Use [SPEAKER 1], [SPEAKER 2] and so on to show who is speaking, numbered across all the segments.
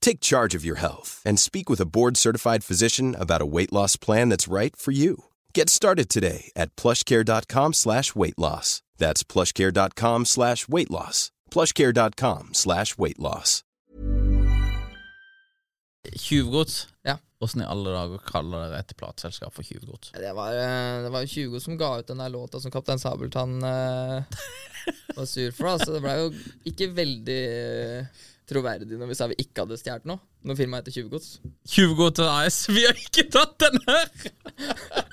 [SPEAKER 1] Take charge of your health and speak with a board-certified physician about a weight loss plan that's right for you. Get started today at plushcare.com slash weight loss. That's plushcare.com slash weight loss. plushcare.com slash weight loss.
[SPEAKER 2] Tjuvgods.
[SPEAKER 3] Ja.
[SPEAKER 2] Åssen i alle dager kaller dere et plateselskap for tjuvgods?
[SPEAKER 3] Det var, eh, det var jo 20 som ga ut den der låta som Kaptein Sabeltann eh, var sur for. da, Så det blei jo ikke veldig eh, troverdig når vi sa vi ikke hadde stjålet noe. Når firmaet heter Tjuvgods.
[SPEAKER 2] Tjuvgods AS, vi har ikke tatt den her!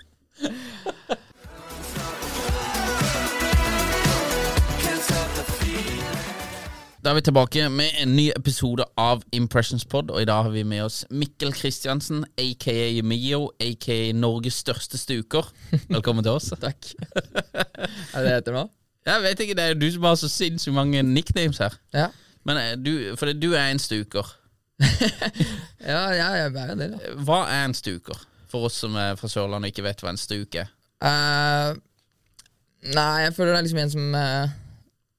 [SPEAKER 2] Da er vi tilbake med en ny episode av Impressions Pod, og i dag har vi med oss Mikkel Kristiansen, aka Mio, aka Norges største stuker. Velkommen til oss.
[SPEAKER 3] Takk. er det det heter nå?
[SPEAKER 2] Jeg vet ikke, det er du som har så sinnssykt mange nicknames her.
[SPEAKER 3] Ja.
[SPEAKER 2] Men eh, du, for du er en stuker.
[SPEAKER 3] Ja, ja jeg er jo det. da.
[SPEAKER 2] Hva er en stuker? For oss som er fra Sørlandet og ikke vet hva en stuk er.
[SPEAKER 3] Eh, nei, jeg føler det er liksom en som eh,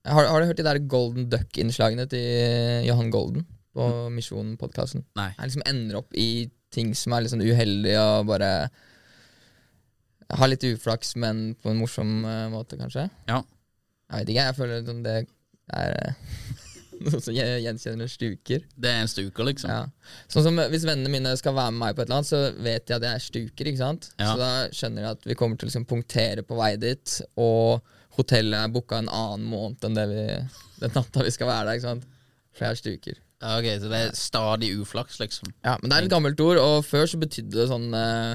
[SPEAKER 3] har, har du hørt de der Golden Duck-innslagene til Johan Golden på Misjonen-podkasten?
[SPEAKER 2] Nei.
[SPEAKER 3] Jeg liksom ender opp i ting som er litt sånn uheldige og bare Har litt uflaks, men på en morsom eh, måte, kanskje.
[SPEAKER 2] Ja.
[SPEAKER 3] Jeg vet ikke, jeg føler liksom det er eh, noe som jeg gjenkjenner stuker.
[SPEAKER 2] Det er en stuker, liksom.
[SPEAKER 3] Ja. Sånn som Hvis vennene mine skal være med meg på et eller annet, så vet de at jeg er stuker. ikke sant?
[SPEAKER 2] Ja.
[SPEAKER 3] Så da skjønner de at vi kommer til å liksom punktere på vei dit, og hotellet er booka en annen måned enn det vi, den natta vi skal være der. ikke sant? For jeg er stuker.
[SPEAKER 2] Ja, Ok, Så det er stadig uflaks, liksom.
[SPEAKER 3] Ja, men det er et gammelt ord, og før så betydde det sånn eh,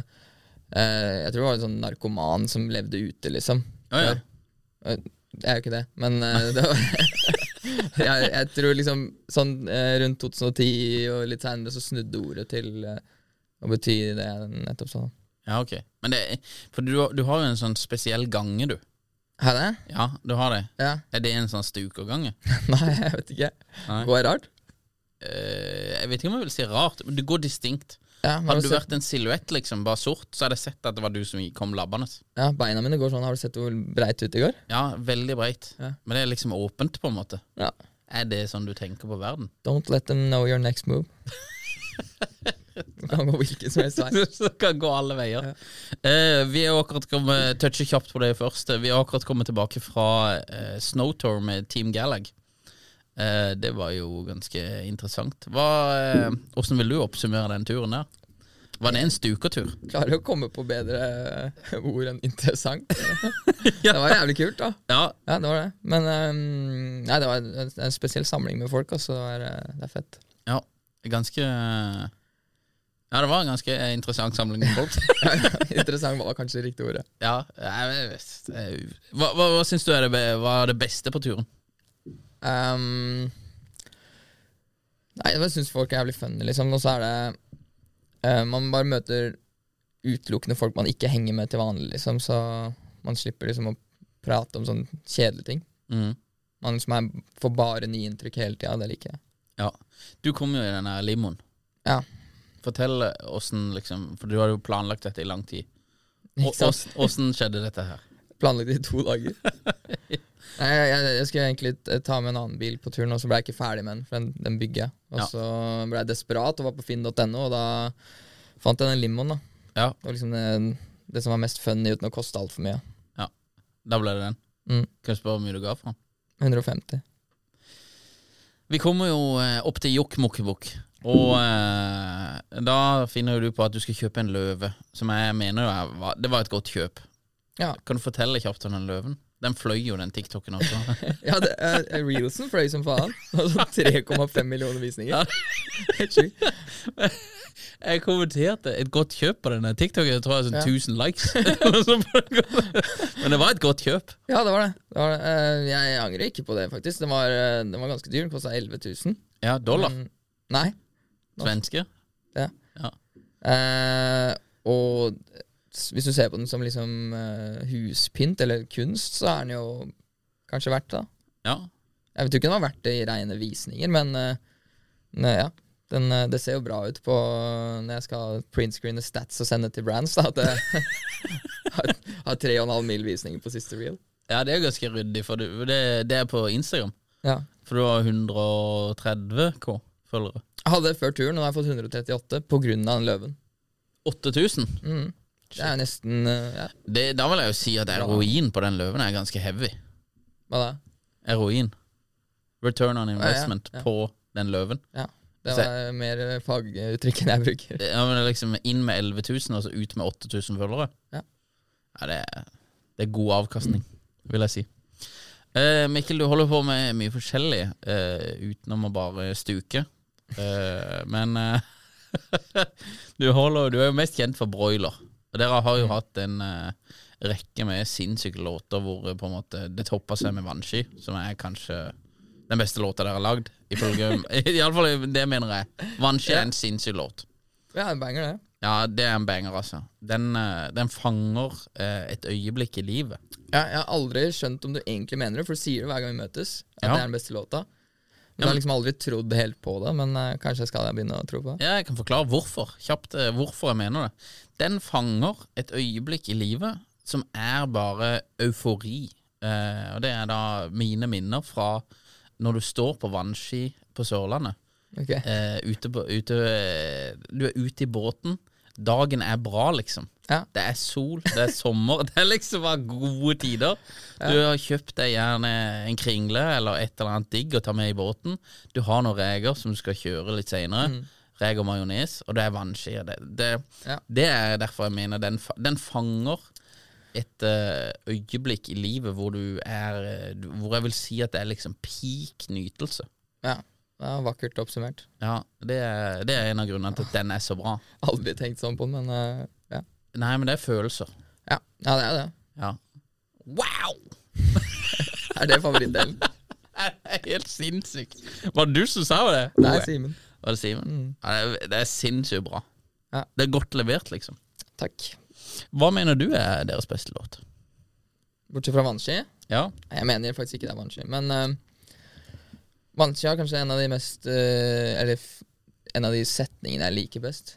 [SPEAKER 3] eh, Jeg tror det var en sånn narkoman som levde ute, liksom.
[SPEAKER 2] Å, ja.
[SPEAKER 3] Før. Eh, Jeg er jo ikke det, men eh, det var jeg, jeg tror liksom sånn eh, rundt 2010 og litt seinere så snudde ordet til eh, å bety det jeg nettopp sånn. sa.
[SPEAKER 2] Ja, ok. Men det, for du, har- du har jo en sånn spesiell gange, du.
[SPEAKER 3] Hæ, det?
[SPEAKER 2] Ja, du har det.
[SPEAKER 3] Ja.
[SPEAKER 2] Er det en sånn stukergange?
[SPEAKER 3] Nei, jeg vet ikke.
[SPEAKER 2] Nei.
[SPEAKER 3] Går jeg rart?
[SPEAKER 2] Eh, jeg vet ikke om jeg vil si rart, men du går distinkt.
[SPEAKER 3] Ja, men
[SPEAKER 2] Hadde
[SPEAKER 3] har
[SPEAKER 2] du
[SPEAKER 3] du sett-
[SPEAKER 2] vært en silhuett, liksom, bare sort, så hadde jeg sett at det var du som kom labbende.
[SPEAKER 3] ja, Beina mine går sånn. Har du sett hvor breit ut det går?
[SPEAKER 2] Ja, veldig breit.
[SPEAKER 3] Ja.
[SPEAKER 2] Men det er liksom åpent, på en måte.
[SPEAKER 3] Ja.
[SPEAKER 2] Er det sånn du tenker på verden?
[SPEAKER 3] Don't let them know your next move. Du kan gå hvilken som helst vei.
[SPEAKER 2] Så det kan gå alle veier. Eh, vi er jo akkurat kommet touche kjapt på det først. Vi har akkurat kommet tilbake fra eh, Snowtour med Team Gallag. Eh, det var jo ganske interessant. Hva, eh, hvordan vil du oppsummere den turen der? Var det en stukertur?
[SPEAKER 3] klarer å komme på bedre ord enn interessant. Det var jævlig kult, da.
[SPEAKER 2] Ja,
[SPEAKER 3] Ja, det var det. Men ehm, nei, det var en, en spesiell samling med folk, altså. Det, var, eh, det er fett.
[SPEAKER 2] ja. Ganske eh, Ja, det var en ganske interessant samling med folk.
[SPEAKER 3] interessant var kanskje det riktige ordet.
[SPEAKER 2] ja, jeg vet- jeg- Hva, hva, hva syns du er det, be- var det beste på turen?
[SPEAKER 3] Ehm, nei, jeg syns folk er jævlig funny, liksom. Og så er det eh, Man bare møter utelukkende folk man ikke henger med til vanlig, liksom. Så man slipper liksom å prate om sånne kjedelige ting.
[SPEAKER 2] Mm.
[SPEAKER 3] Man som er, får bare nye inntrykk hele tida. Det liker jeg.
[SPEAKER 2] Ja. Du kom jo i den her limoen.
[SPEAKER 3] Ja.
[SPEAKER 2] Fortell åssen liksom For du hadde jo planlagt dette i lang tid.
[SPEAKER 3] Ikke sant?
[SPEAKER 2] Åssen skjedde dette her?
[SPEAKER 3] planlagt i to dager. Nei, jeg, jeg, jeg skulle egentlig t- ta med en annen bil på turen, og så ble jeg ikke ferdig med den. For den, den bygger jeg. Og
[SPEAKER 2] Ja.
[SPEAKER 3] så ble jeg desperat og var på finn.no, og da fant jeg den limoen. da
[SPEAKER 2] Ja,
[SPEAKER 3] Det var liksom det, det som var mest funny uten å koste altfor mye.
[SPEAKER 2] da ble det den.
[SPEAKER 3] Mm.
[SPEAKER 2] Kan jeg spørre hvor mye du ga for den?
[SPEAKER 3] 150.
[SPEAKER 2] Vi kommer jo eh, opp til Jokkmokkibukk, og eh, da finner jo du på at du skal kjøpe en løve, som jeg mener er, var- det var et godt kjøp.
[SPEAKER 3] Ja.
[SPEAKER 2] Kan du fortelle kjapt om den løven? Den fløy jo, den TikToken også.
[SPEAKER 3] Ja, det er, er Reelsen fløy som faen. Altså 3,5 millioner visninger. Helt sjukt.
[SPEAKER 2] jeg kommenterte et godt kjøp på den der TikToken, jeg tror jeg
[SPEAKER 3] Ja.
[SPEAKER 2] sånn 1000 likes. Men det var et godt kjøp.
[SPEAKER 3] Ja, det var det. det, var det. Eh, Jeg angrer ikke på det, faktisk. Den var, eh, den var ganske dyr. Den kosta 11 000.
[SPEAKER 2] Ja, dollar.
[SPEAKER 3] Men- Mm, Nei.
[SPEAKER 2] Svenske.
[SPEAKER 3] Eh, og s- hvis du ser på den som liksom eh, huspynt eller kunst, så er den jo kanskje verdt det. da.
[SPEAKER 2] Ja.
[SPEAKER 3] Jeg vet jo ikke om den var verdt det i rene visninger, men eh, nei, ja. Den, eh, det ser jo bra ut på når jeg skal printscreene stats og sende til brands. Da, at jeg har- har 3,5 mill. visninger på siste reel.
[SPEAKER 2] ja, det er jo ganske ryddig, for du- det, det er på Instagram.
[SPEAKER 3] Ja.
[SPEAKER 2] For du har 130K følgere.
[SPEAKER 3] Jeg hadde det før turen, og nå har jeg fått 138 pga. den løven.
[SPEAKER 2] 8000.
[SPEAKER 3] Mm. Det er jo nesten eh, ja,
[SPEAKER 2] Det, da vil jeg jo si at heroin på den løven er ganske heavy.
[SPEAKER 3] Hva da?
[SPEAKER 2] Heroin. Return on investment
[SPEAKER 3] ja.
[SPEAKER 2] på den løven.
[SPEAKER 3] Ja. Det
[SPEAKER 2] Så-
[SPEAKER 3] var mer eh, faguttrykk enn jeg bruker.
[SPEAKER 2] Det, ja, men det er liksom inn med 11 000, og så ut med 8000 følgere.
[SPEAKER 3] Ja.
[SPEAKER 2] Ja, det, er- det er god avkastning, vil jeg si. Eh, Mikkel, du holder på med mye forskjellig eh, utenom å bare stuke. Eh, men eh, du, holder, du er jo mest kjent for broiler. Og dere har jo hatt en eh, rekke med sinnssyke låter hvor eh, på en måte det topper seg med Vanski, som er kanskje den beste låta dere har lagd. Iallfall det mener jeg. Vanski er en sinnssyk låt.
[SPEAKER 3] Ja, en banger, det.
[SPEAKER 2] Ja, det er en banger, altså. Den, eh, den fanger eh, et øyeblikk i livet.
[SPEAKER 3] Ja, jeg har aldri skjønt om du egentlig mener det, for du sier det hver gang vi møtes. At
[SPEAKER 2] Ja.
[SPEAKER 3] det er den beste låta. Men jeg har liksom aldri trodd helt på det, men eh, kanskje skal jeg begynne å tro på det.
[SPEAKER 2] Ja, jeg kan forklare hvorfor. Kjapt eh, hvorfor jeg mener det. Den fanger et øyeblikk i livet som er bare eufori. Eh, og det er da mine minner fra når du står på vannski på Sørlandet.
[SPEAKER 3] Ok.
[SPEAKER 2] Eh, ute på, ute, eh, du er ute i båten. Dagen er bra, liksom.
[SPEAKER 3] Ja.
[SPEAKER 2] Det er sol, det er sommer. Det er liksom bare gode tider. Du har kjøpt deg gjerne en kringle eller et eller annet digg å ta med i båten. Du har noen reker som du skal kjøre litt seinere. Reker og majones, og det er vannskier. Det, det,
[SPEAKER 3] Mm. Ja.
[SPEAKER 2] det er derfor jeg mener den, fa- den fanger et eh, øyeblikk i livet hvor du er eh, du- Hvor jeg vil si at det er liksom peak nytelse.
[SPEAKER 3] Ja. ja, Vakkert oppsummert.
[SPEAKER 2] Ja, det er, det er en av grunnene til at den er så bra.
[SPEAKER 3] Aldri tenkt sånn på den, men eh, ja.
[SPEAKER 2] Nei, men det er følelser.
[SPEAKER 3] ja. Ja, det er det.
[SPEAKER 2] Ja. Wow!
[SPEAKER 3] Er det favorittdelen?
[SPEAKER 2] Det er helt sinnssykt. Var det du som sa det?
[SPEAKER 3] Nei, Simen.
[SPEAKER 2] Var det Simen? Ja, det, er- det er sinnssykt bra.
[SPEAKER 3] Ja.
[SPEAKER 2] Det er godt levert, liksom.
[SPEAKER 3] Takk.
[SPEAKER 2] Hva mener du er deres beste låt?
[SPEAKER 3] Bortsett fra Vanskelig.
[SPEAKER 2] Ja.
[SPEAKER 3] Nei, Jeg mener faktisk ikke det er Vanskelig, men uh, Vanskelig er kanskje en av de mest eh, Eller f en av de setningene jeg liker best.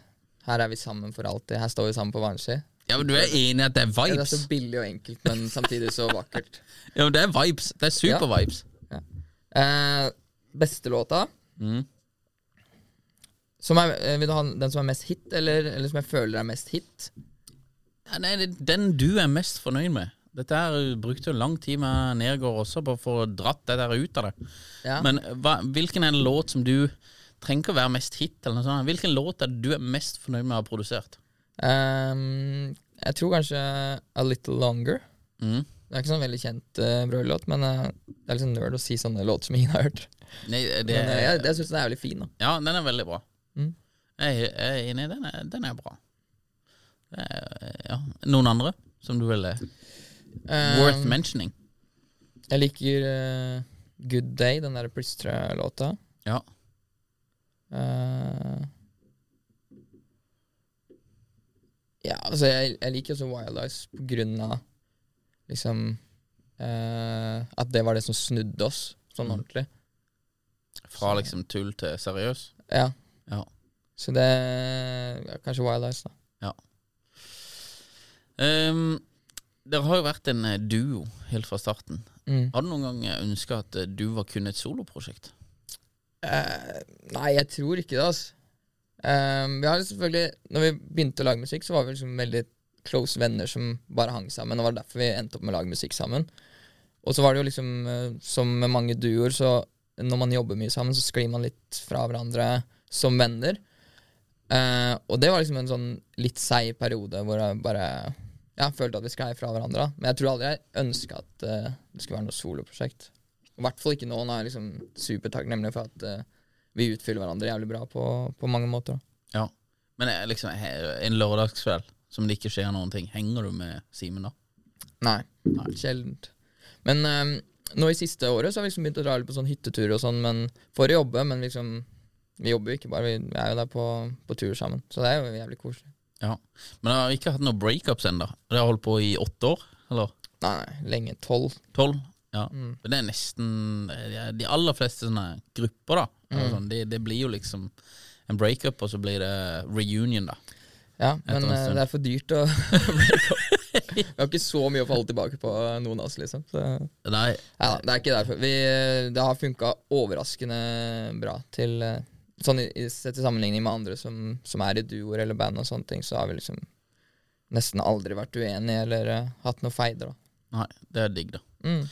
[SPEAKER 3] Her er vi sammen for alltid. Her står vi sammen på Vanskelig.
[SPEAKER 2] ja, men du er enig i at det er
[SPEAKER 3] Ja, det er
[SPEAKER 2] vibes?
[SPEAKER 3] så billig og enkelt, men samtidig så vakkert.
[SPEAKER 2] Ja, men det er vibes. Det er super-vibes.
[SPEAKER 3] Eh, beste låta?
[SPEAKER 2] Mm.
[SPEAKER 3] Som er, eh, vil du ha den som er mest hit, eller, eller som jeg føler er mest hit?
[SPEAKER 2] Ja, nei, det er den du er mest fornøyd med. Dette her brukte jo lang tid med Nergård også på å få dratt det der ut av det.
[SPEAKER 3] Ja.
[SPEAKER 2] Men hva, hvilken er en låt som du trenger ikke å være mest hit, eller noe sånt. Hvilken låt er det du er mest fornøyd med å ha produsert?
[SPEAKER 3] Ehm, jeg tror kanskje A Little Longer.
[SPEAKER 2] Mm.
[SPEAKER 3] Det er ikke sånn veldig kjent uh, brødlåt, men eh, det er litt sånn nerd å si sånne låter som ingen har hørt.
[SPEAKER 2] Nei, det,
[SPEAKER 3] Men eh, jeg, jeg syns den er jævlig fin. da
[SPEAKER 2] Ja, den er veldig bra.
[SPEAKER 3] Mm.
[SPEAKER 2] Jeg, jeg er enig, den er, den er bra. Det er, ja. Noen andre som du ville
[SPEAKER 3] Ehm,
[SPEAKER 2] Worth mentioning.
[SPEAKER 3] Jeg liker eh, Good Day, den der plystre-låta.
[SPEAKER 2] Ja.
[SPEAKER 3] Eh, ja, altså, jeg, jeg liker også Wild Eyes på grunn av liksom eh, At det var det som snudde oss sånn
[SPEAKER 2] Mm.
[SPEAKER 3] ordentlig.
[SPEAKER 2] Fra liksom tull til seriøs.
[SPEAKER 3] Ja.
[SPEAKER 2] Ja.
[SPEAKER 3] Så det ja, Kanskje Wild Eyes, da.
[SPEAKER 2] Ehm, Dere har jo vært en eh, duo helt fra starten.
[SPEAKER 3] Mm.
[SPEAKER 2] Har du noen gang ønska at eh, du var kun et soloprosjekt?
[SPEAKER 3] Eh, nei, jeg tror ikke det, altså. Eh, vi har jo selvfølgelig Når vi begynte å lage musikk, så var vi liksom veldig close venner som bare hang sammen, og var derfor vi endte opp med å lage musikk sammen. Og så var det jo liksom, eh, som med mange duoer, så når man jobber mye sammen, så sklir man litt fra hverandre som venner. Eh, og det var liksom en sånn litt seig periode hvor jeg bare ja, følte at vi sklei fra hverandre. da. Men jeg tror aldri jeg ønska at eh, det skulle være noe soloprosjekt. I hvert fall ikke nå. Nå er jeg liksom supertakknemlig for at eh, vi utfyller hverandre jævlig bra på, på mange måter. da.
[SPEAKER 2] Ja. Men eh, liksom he- en lørdagskveld som det ikke skjer noen ting, henger du med Simen da?
[SPEAKER 3] Nei, sjeldent. Men eh, nå i siste året så har vi liksom begynt å dra litt på sånn hytteturer og sånn, men for å jobbe. Men liksom, vi jobber jo ikke bare, vi er jo der på, på tur sammen. Så det er jo jævlig koselig.
[SPEAKER 2] Ja. Men jeg har ikke hatt noen breakups ennå. Dere har holdt på i åtte år, eller?
[SPEAKER 3] Nei, nei, lenge. Tolv.
[SPEAKER 2] Tolv? Ja. Men Det er nesten eh, De aller fleste sånne grupper, da. eller Sånn, det, det blir jo liksom en breakup, og så blir det reunion, da.
[SPEAKER 3] Ja,
[SPEAKER 2] Etter
[SPEAKER 3] men
[SPEAKER 2] en
[SPEAKER 3] eh,
[SPEAKER 2] stund.
[SPEAKER 3] det er for dyrt å Vi har ikke så mye å falle tilbake på eh, noen av oss, liksom. Så, ja,
[SPEAKER 2] Nei,
[SPEAKER 3] det er ikke derfor. Vi, eh, det har funka overraskende bra til eh, Sånn i, i, sett i sammenligning med andre som, som er i duoer eller band og sånne ting, så har vi liksom nesten aldri vært uenige eller eh, hatt noe feider, da.
[SPEAKER 2] nei, det er digg, da.
[SPEAKER 3] Mm.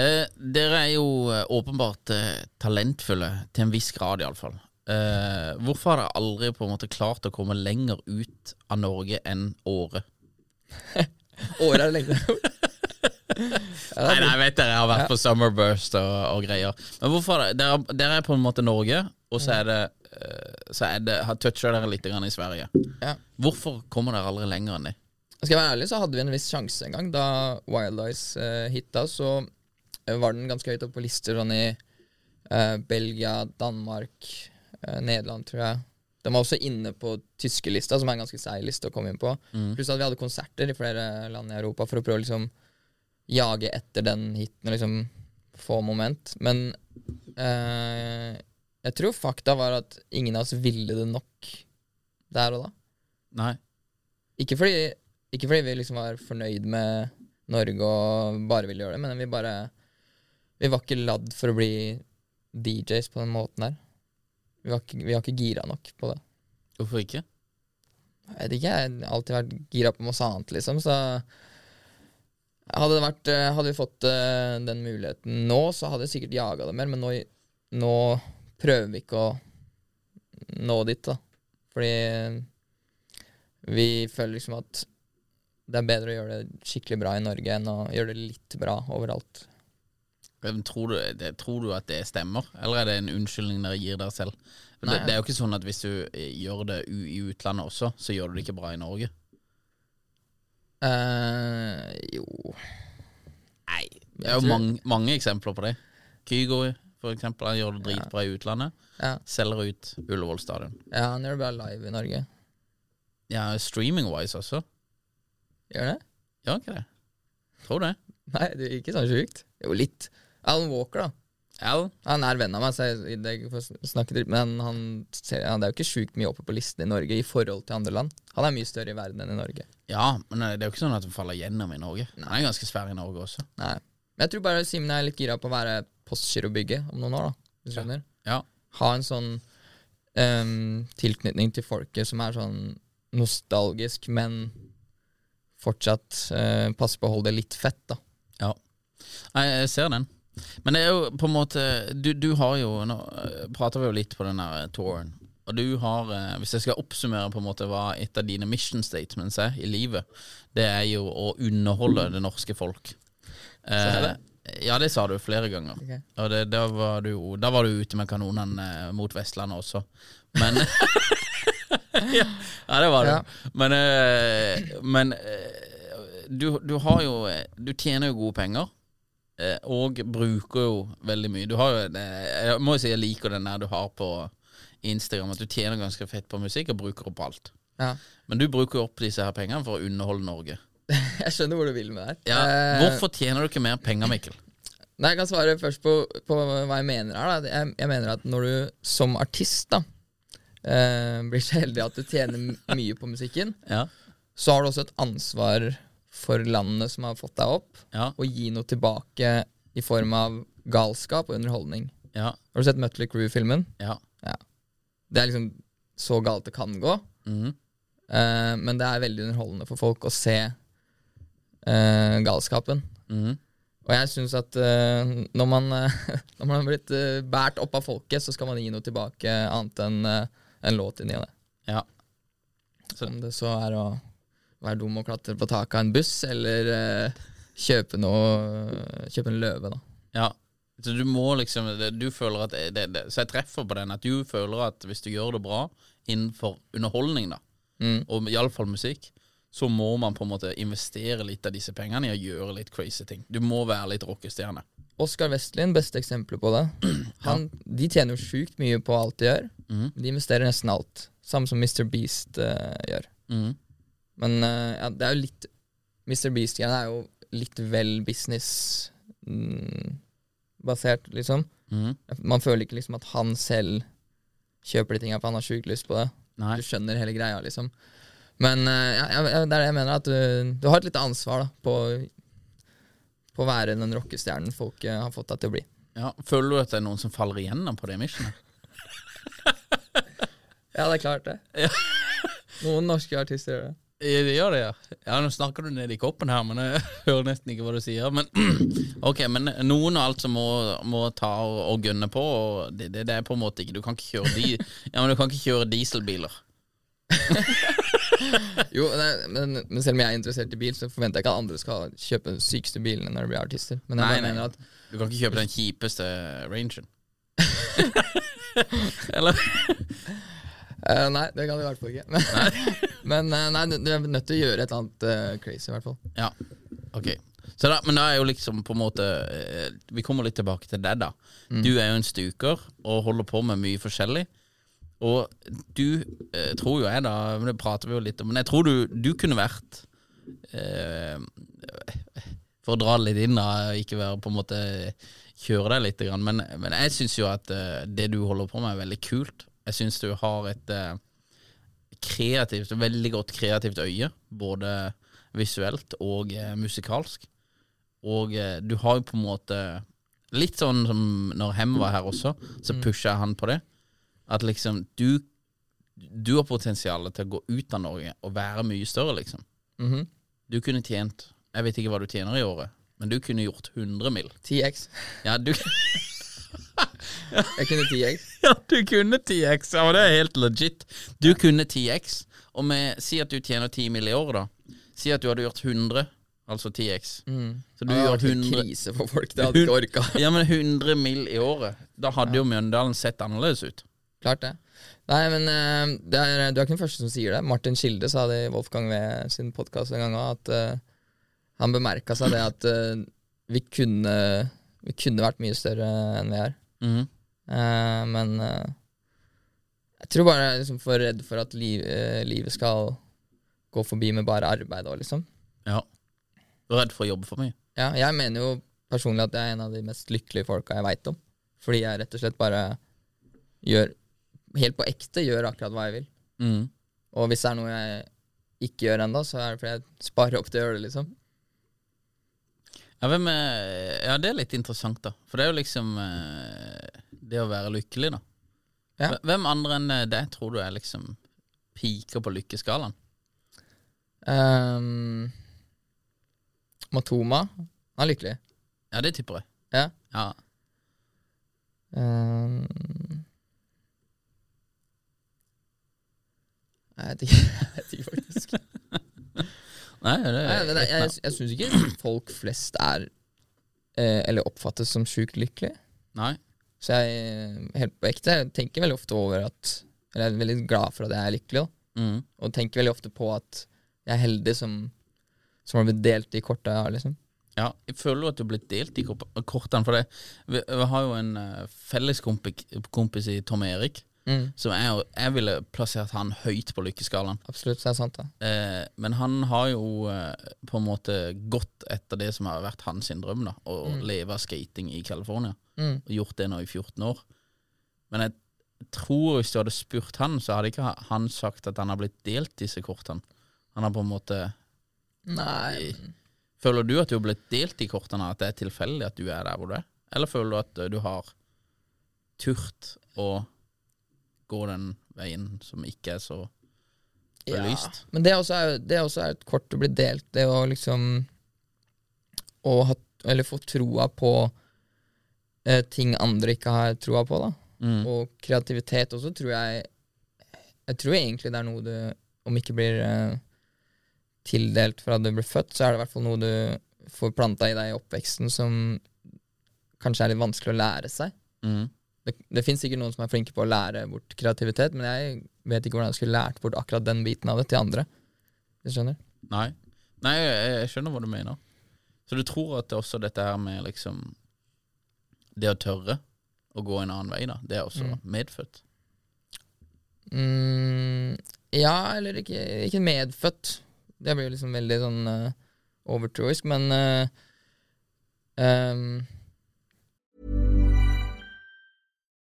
[SPEAKER 2] Eh, dere er jo eh, åpenbart eh, talentfulle, til en viss grad iallfall. Eh, hvorfor har dere aldri på en måte klart å komme lenger ut av Norge enn Åre?
[SPEAKER 3] Året er lenge. ja, det er
[SPEAKER 2] Nei, nei, jeg vet dere, jeg har vært på Summerburst og, og greier. Men hvorfor har dere, dere- dere er på en måte Norge, og
[SPEAKER 3] Mm.
[SPEAKER 2] så er det, eh, så er det har toucha dere litt grann i Sverige.
[SPEAKER 3] Ja.
[SPEAKER 2] Hvorfor kommer dere aldri lenger enn det?
[SPEAKER 3] Skal jeg være ærlig, så hadde vi en viss sjanse en gang. Da Wild Eyes uh, hitta, så eh, var den ganske høyt oppe på lister sånn i eh, Belgia, Danmark, eh, Nederland, tror jeg. Den var også inne på tyske lista, som er en ganske seig liste å komme inn på. Pluss at vi hadde konserter i flere land i Europa for å prøve å liksom jage etter den hiten og liksom få moment. Men eh, jeg tror fakta var at ingen av oss ville det nok der og da.
[SPEAKER 2] Nei.
[SPEAKER 3] Ikke fordi, ikke fordi vi liksom var fornøyd med Norge og bare ville gjøre det, men vi bare Vi var ikke ladd for å bli DJs på den måten der. Vi var ikke, vi var ikke gira nok på det.
[SPEAKER 2] Hvorfor ikke?
[SPEAKER 3] Jeg vet ikke, jeg har alltid vært gira på masse annet, liksom, så hadde, det vært, eh, hadde vi fått eh, den muligheten nå, så hadde jeg sikkert jaga det mer, men nå, nå prøver vi ikke å nå dit, da. Fordi eh, vi føler liksom at det er bedre å gjøre det skikkelig bra i Norge enn å gjøre det litt bra overalt.
[SPEAKER 2] Men Tror du, det, tror du at det stemmer, eller er det en unnskyldning dere gir dere selv? For
[SPEAKER 3] Nei.
[SPEAKER 2] det, det er jo ikke sånn at hvis du eh, gjør det u, i utlandet også, så gjør du det ikke bra i Norge.
[SPEAKER 3] eh jo
[SPEAKER 2] Nei. Det er jo mange, mange eksempler på det. Kygo, for eksempel, han gjør det dritbra i utlandet.
[SPEAKER 3] Ja.
[SPEAKER 2] Selger ut Ullevål stadion.
[SPEAKER 3] ja, han gjør det bra live i Norge.
[SPEAKER 2] Ja, Streaming-wise også.
[SPEAKER 3] Gjør det?
[SPEAKER 2] Gjør han ikke det? Tror det.
[SPEAKER 3] Nei, det er ikke sånn sjukt. Jo, litt. Alan Walker, da.
[SPEAKER 2] Al?
[SPEAKER 3] Han er venn av meg, så jeg, det er ikke for å snakke dritt, men han, ser, han det er jo ikke sjukt mye oppe på listen i Norge i forhold til andre land. Han er mye større i verden enn i Norge.
[SPEAKER 2] Ja, men eh, det er jo ikke sånn at han faller gjennom i Norge. Han er ganske svær i Norge også.
[SPEAKER 3] Nei. Men jeg tror bare Simen er litt gira på å være postgirobygget om noen år, da. Hvis du skjønner.
[SPEAKER 2] Ja.
[SPEAKER 3] Ha en sånn em, tilknytning til folket som er sånn nostalgisk, men fortsatt eh, passe på å holde det litt fett, da.
[SPEAKER 2] Ja. Nei, jeg ser den. Men det er jo på en måte Du, du har jo Nå eh, prater vi jo litt på den her eh, touren. Og du har, eh, hvis jeg skal oppsummere på en måte hva et av dine mission statements er i livet, det er jo å underholde det norske folk. Eh, ja, det sa du flere ganger.
[SPEAKER 3] Ok.
[SPEAKER 2] Og det, da, var du, jo- da var du ute med kanonene eh, mot Vestlandet også. Men ja, ja, det var du.
[SPEAKER 3] Ja.
[SPEAKER 2] Men, eh, men eh, du, du har jo eh, Du tjener jo gode penger. Eh, og bruker jo veldig mye. Du har jo det, Jeg må jo si jeg liker den der du har på Instagram, at du tjener ganske fett på musikk og bruker opp alt.
[SPEAKER 3] Ja.
[SPEAKER 2] Men du bruker jo opp disse her pengene for å underholde Norge.
[SPEAKER 3] Jeg skjønner hvor du vil med det her.
[SPEAKER 2] Ja,
[SPEAKER 3] Eh,
[SPEAKER 2] hvorfor tjener du ikke mer penger, Mikkel?
[SPEAKER 3] Nei, Jeg kan svare først på, på hva jeg mener her. Da. Jeg, jeg mener at når du som artist da, eh, blir så heldig at du tjener m- mye på musikken,
[SPEAKER 2] Ja,
[SPEAKER 3] så har du også et ansvar for landene som har fått deg opp,
[SPEAKER 2] Ja,
[SPEAKER 3] og gi noe tilbake i form av galskap og underholdning.
[SPEAKER 2] ja,
[SPEAKER 3] Har du sett Mutley Crew-filmen?
[SPEAKER 2] ja.
[SPEAKER 3] Det er liksom så galt det kan gå.
[SPEAKER 2] Mhm.
[SPEAKER 3] Eh, men det er veldig underholdende for folk å se eh, galskapen.
[SPEAKER 2] Mhm.
[SPEAKER 3] Og jeg syns at eh, når, man, eh, når man har blitt eh, båret opp av folket, så skal man gi noe tilbake annet enn eh, en låt inni det.
[SPEAKER 2] Ja.
[SPEAKER 3] Om det så er å være dum og klatre på taket av en buss, eller eh, kjøpe noe Kjøpe en løve, da.
[SPEAKER 2] ja. Så du må liksom det- Du føler at det, det, det, Så jeg treffer på den at du føler at hvis du gjør det bra innenfor underholdning, da,
[SPEAKER 3] Mm.
[SPEAKER 2] og iallfall musikk, så må man på en måte investere litt av disse pengene i å gjøre litt crazy ting. Du må være litt rockestjerne.
[SPEAKER 3] Oskar Westlin, beste eksempelet på det. Han, De tjener jo sjukt mye på alt de gjør.
[SPEAKER 2] Mhm.
[SPEAKER 3] De investerer nesten alt. Samme som Mr. Beast eh, gjør.
[SPEAKER 2] Mhm.
[SPEAKER 3] Men eh, ja, det er jo litt Mr. Beast-greiene er jo litt vel business-basert, liksom.
[SPEAKER 2] Mhm.
[SPEAKER 3] Man føler ikke liksom at han selv kjøper de tinga, for han har sjukt lyst på det.
[SPEAKER 2] Nei.
[SPEAKER 3] Du skjønner hele greia, liksom. Men eh, ja, ja, ja, det er det jeg mener, at du, du har et lite ansvar da, på, på å være den rockestjernen folk eh, har fått deg til å bli.
[SPEAKER 2] Ja. Føler du at det er noen som faller igjennom på det missionet?
[SPEAKER 3] Ja, det er klart, det. Noen norske artister gjør det.
[SPEAKER 2] Ja, det gjør det, ja. ja. Nå snakker du ned i koppen her, men jeg hører nesten ikke hva du sier. Men ok, men noen og alt som må, må ta og, og gønne på, og det, det, det er på en måte ikke Du kan ikke kjøre, di, ja, men du kan ikke kjøre dieselbiler.
[SPEAKER 3] Jo, nei, men, men selv om jeg er interessert i bil, så forventer jeg ikke at andre skal kjøpe de sykeste bilene når de blir artister. Men jeg
[SPEAKER 2] Nei,
[SPEAKER 3] bare
[SPEAKER 2] nei.
[SPEAKER 3] mener at
[SPEAKER 2] Du kan ikke kjøpe den kjipeste rangen. Eller
[SPEAKER 3] eh, Nei, det kan du i hvert fall ikke. Men, men eh, nei, du, du er nødt til å gjøre et eller annet eh, crazy, i hvert fall.
[SPEAKER 2] Ja, ok. Så da, men da er jo liksom på en måte eh, Vi kommer litt tilbake til deg, da. Du er jo en stuker og holder på med mye forskjellig. Og du eh, tror jo jeg, da men Det prater vi jo litt om, men jeg tror du, du kunne vært eh, For å dra det litt inn, da, og ikke være på en måte kjøre deg litt, grann, men, men jeg syns jo at eh, det du holder på med, er veldig kult. Jeg syns du har et eh, kreativt, veldig godt kreativt øye, både visuelt og eh, musikalsk. Og eh, du har jo på en måte Litt sånn som når Hem var her også, så pusha jeg han på det. At liksom du Du har potensial til å gå ut av Norge og være mye større, liksom.
[SPEAKER 3] Mhm.
[SPEAKER 2] Du kunne tjent Jeg vet ikke hva du tjener i året, men du kunne gjort 100 mill.
[SPEAKER 3] 10X.
[SPEAKER 2] Ja, du
[SPEAKER 3] Jeg kunne 10X.
[SPEAKER 2] Ja, du kunne 10x. Ja, men det er helt legit. Du kunne 10x, og med, si at du tjener 10 mill. i året, da. Si at du hadde gjort 100, altså 10x. Så du
[SPEAKER 3] det hadde
[SPEAKER 2] gjør
[SPEAKER 3] vært en
[SPEAKER 2] 100
[SPEAKER 3] krise for folk. Det hadde ikke orka.
[SPEAKER 2] Ja, men 100 mill. i året. Da hadde jo Mjøndalen sett annerledes ut.
[SPEAKER 3] Klart det. Nei, men eh, det er, du er ikke den første som sier det. Martin Kilde sa det i Wolfgang Wee sin podkast en gang òg, at eh, han bemerka seg det at eh, vi, kunne, vi kunne vært mye større enn vi er.
[SPEAKER 2] Mhm.
[SPEAKER 3] Eh, men eh, jeg tror bare jeg er liksom for redd for at liv, eh, livet skal gå forbi med bare arbeid òg, liksom.
[SPEAKER 2] Ja. Du er redd for å jobbe for mye?
[SPEAKER 3] Ja, jeg mener jo personlig at jeg er en av de mest lykkelige folka jeg veit om. Fordi jeg rett og slett bare gjør Helt på ekte gjør akkurat hva jeg vil.
[SPEAKER 2] Mhm.
[SPEAKER 3] Og hvis det er noe jeg ikke gjør ennå, så er det fordi jeg sparer opp til å gjøre det, liksom.
[SPEAKER 2] Ja, hvem er, ja, det er litt interessant, da. For det er jo liksom eh, det å være lykkelig, da.
[SPEAKER 3] Ja.
[SPEAKER 2] Hve- Hvem andre enn eh, deg tror du er liksom piker på lykkeskalaen?
[SPEAKER 3] Ehm, Matoma, han er lykkelig.
[SPEAKER 2] Ja, det tipper jeg.
[SPEAKER 3] Ja.
[SPEAKER 2] Ja.
[SPEAKER 3] Ehm, Nei, jeg vet ikke, jeg vet ikke faktisk.
[SPEAKER 2] Nei, det er
[SPEAKER 3] Nei, men jeg jeg, jeg syns ikke folk flest er eh, eller oppfattes som sjukt lykkelige.
[SPEAKER 2] Nei.
[SPEAKER 3] Så jeg, helt på ekte, jeg tenker veldig ofte over at Eller jeg er veldig glad for at jeg er lykkelig, da.
[SPEAKER 2] Mm.
[SPEAKER 3] Og tenker veldig ofte på at jeg er heldig som, som har blitt delt de korta jeg har, liksom.
[SPEAKER 2] Ja, jeg føler jo at du er blitt delt i kor- kortene for det. Vi, vi har jo en eh, felles kompis, kompis i Tom Erik, som er, jo- jeg ville plassert han høyt på lykkeskalaen.
[SPEAKER 3] Absolutt, det er sant, det.
[SPEAKER 2] Eh, men han har jo eh, på en måte gått etter det som har vært hans sin drøm, da. Å leve av skating i California.
[SPEAKER 3] Mm.
[SPEAKER 2] Og gjort det nå i 14 år. Men jeg tror hvis du hadde spurt han, så hadde ikke ha- han sagt at han har blitt delt disse kortene. Han har på en måte Eh,
[SPEAKER 3] Nei.
[SPEAKER 2] Føler du at du har blitt delt i kortene, at det er tilfeldig at du er der hvor du er? Eller føler du at eh, du har turt å gå den veien som ikke er så belyst?
[SPEAKER 3] Men det også er, det også er et kort å bli delt, det å liksom Å ha Eller få troa på eh, ting andre ikke har troa på, da. Og kreativitet også, tror jeg Jeg tror egentlig det er noe du Om ikke blir eh, tildelt fra du blir født, så er det i hvert fall noe du får planta i deg i oppveksten som kanskje er litt vanskelig å lære seg.
[SPEAKER 2] Mm.
[SPEAKER 3] Det, det finnes sikkert noen som er flinke på å lære bort kreativitet, men jeg vet ikke hvordan jeg skulle lært bort akkurat den biten av det til andre. Du skjønner?
[SPEAKER 2] Nei. Nei, jeg, jeg skjønner hva du mener. Så du tror at det er også dette her med liksom Det å tørre å gå en annen vei, da, det er også medfødt?
[SPEAKER 3] Mm, ja, eller ikke, ikke medfødt. Det blir jo liksom veldig sånn eh, overtroisk, men eh, ehm,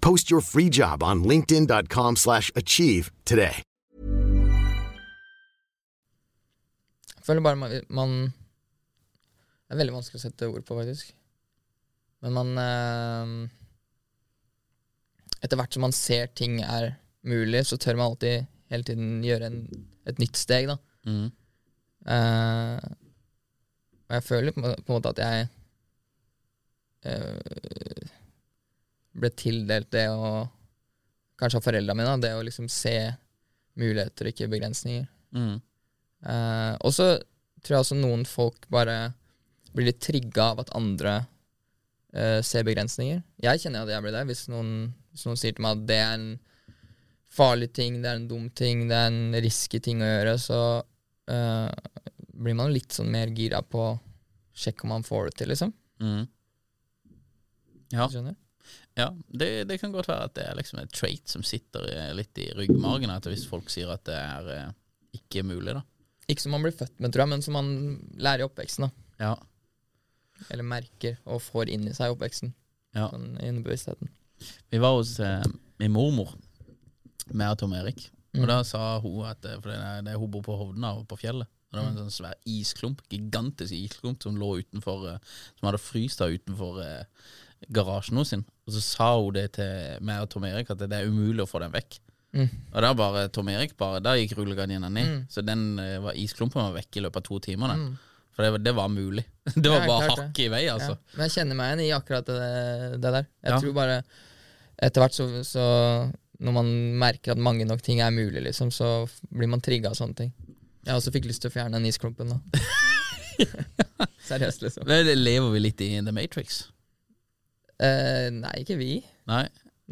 [SPEAKER 4] Post your free job on linkedin.com/achieve slash achieve today.
[SPEAKER 3] jeg føler bare man, man Det er veldig vanskelig å sette ord på, faktisk. Men man ehm, Etter hvert som man ser ting er mulig, så tør man alltid hele tiden gjøre en, et nytt steg, da.
[SPEAKER 2] Mm.
[SPEAKER 3] Eh, og jeg føler på, på en måte at jeg eh, ble tildelt det å Kanskje av foreldra mine, da, det å liksom se muligheter og ikke begrensninger.
[SPEAKER 2] Mm.
[SPEAKER 3] Eh, og så tror jeg også noen folk bare blir litt trigga av at andre eh, ser begrensninger. Jeg kjenner at jeg blir det. Hvis noen, hvis noen sier til meg at det er en farlig ting, det er en dum ting, det er en risky ting å gjøre, så eh, blir man litt sånn mer gira på Sjekk om man får det til, liksom.
[SPEAKER 2] Mm. Ja.
[SPEAKER 3] Skjønner?
[SPEAKER 2] Ja, det, det kan godt være at det er liksom et trait som sitter eh, litt i ryggmargen. At hvis folk sier at det er eh, ikke mulig, da.
[SPEAKER 3] Ikke som man blir født med, tror jeg, men som man lærer i oppveksten. da.
[SPEAKER 2] Ja,
[SPEAKER 3] Eller merker og får inn i seg i oppveksten.
[SPEAKER 2] ja.
[SPEAKER 3] Sånn, innen bevisstheten.
[SPEAKER 2] Vi var hos eh, min mormor, meg og Tom Erik.
[SPEAKER 3] Mm.
[SPEAKER 2] Og da sa hun at eh, For det er, det er hun bor på Hovden da, og på fjellet. Og det
[SPEAKER 3] Mm.
[SPEAKER 2] var en sånn svær isklump, gigantisk isklump, som lå utenfor eh, Som hadde fryst da utenfor eh, garasjen hennes. sin. Og så sa hun det til meg og Tom Erik, at det er umulig å få den vekk.
[SPEAKER 3] Mm.
[SPEAKER 2] Og da bare Tom Erik bare, da gikk rullegardina ned. Så den eh, var, isklumpen var vekk i løpet av to timer. det. For det, var- det var mulig. Det var
[SPEAKER 3] Mm. Ja,
[SPEAKER 2] bare
[SPEAKER 3] klart det.
[SPEAKER 2] hakket i vei, altså.
[SPEAKER 3] Ja, men jeg kjenner meg igjen i akkurat det, det der. Jeg
[SPEAKER 2] Ja.
[SPEAKER 3] tror bare etter hvert så, så Når man merker at mange nok ting er mulig, liksom, så f- blir man trigga av sånne ting. Jeg også fikk lyst til å fjerne den isklumpen da. Seriøst, liksom.
[SPEAKER 2] Det, det lever vi litt i The Matrix.
[SPEAKER 3] Eh, nei, ikke vi.
[SPEAKER 2] Nei,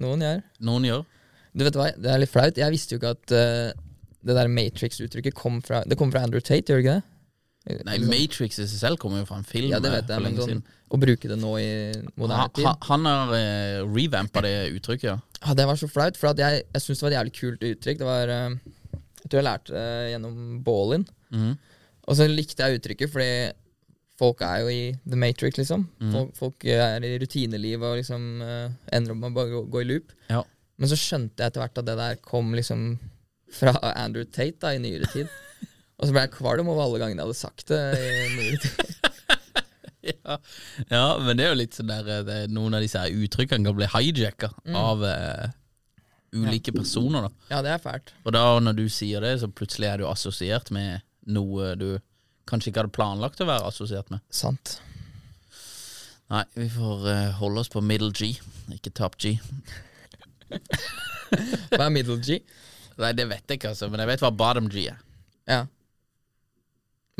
[SPEAKER 3] Noen gjør.
[SPEAKER 2] noen gjør.
[SPEAKER 3] Du vet hva, Det er litt flaut. Jeg visste jo ikke at eh, det der Matrix-uttrykket kom fra Det kom fra Andrew Tate, gjør det ikke det?
[SPEAKER 2] Nei, Matrix i seg selv kommer jo fra en film.
[SPEAKER 3] Ja, det
[SPEAKER 2] eh,
[SPEAKER 3] vet
[SPEAKER 2] for
[SPEAKER 3] jeg, men
[SPEAKER 2] lenge
[SPEAKER 3] sånn,
[SPEAKER 2] siden.
[SPEAKER 3] å bruke det nå i moderne
[SPEAKER 2] han,
[SPEAKER 3] tid
[SPEAKER 2] han, han har eh, revampa det uttrykket, ja.
[SPEAKER 3] Ja, det var så flaut, for at jeg, jeg syntes det var et jævlig kult uttrykk. Det var, eh, Jeg tror jeg lærte det gjennom Ballin. Og så likte jeg uttrykket, fordi folk er jo i the matrix, liksom. Folk, folk er i rutinelivet og liksom eh, ender opp med å bare gå, gå i loop.
[SPEAKER 2] ja.
[SPEAKER 3] Men så skjønte jeg etter hvert at det der kom liksom fra Andrew Tate da, i nyere tid. Og så ble jeg kvalm over alle gangene jeg hadde sagt det. i nyere tid.
[SPEAKER 2] ja. men det er jo litt sånn der eh, det, er Noen av disse her uttrykkene kan bli hijacka av eh, ulike personer, da.
[SPEAKER 3] Ja, det er fælt.
[SPEAKER 2] Og da når du sier det, så plutselig er du assosiert med noe du kanskje ikke hadde planlagt å være assosiert med.
[SPEAKER 3] Sant.
[SPEAKER 2] Nei, vi får eh, holde oss på middle G, ikke top G.
[SPEAKER 3] Hva er middle G?
[SPEAKER 2] Nei, det vet jeg ikke, altså, men jeg vet hva bottom G er.
[SPEAKER 3] Ja.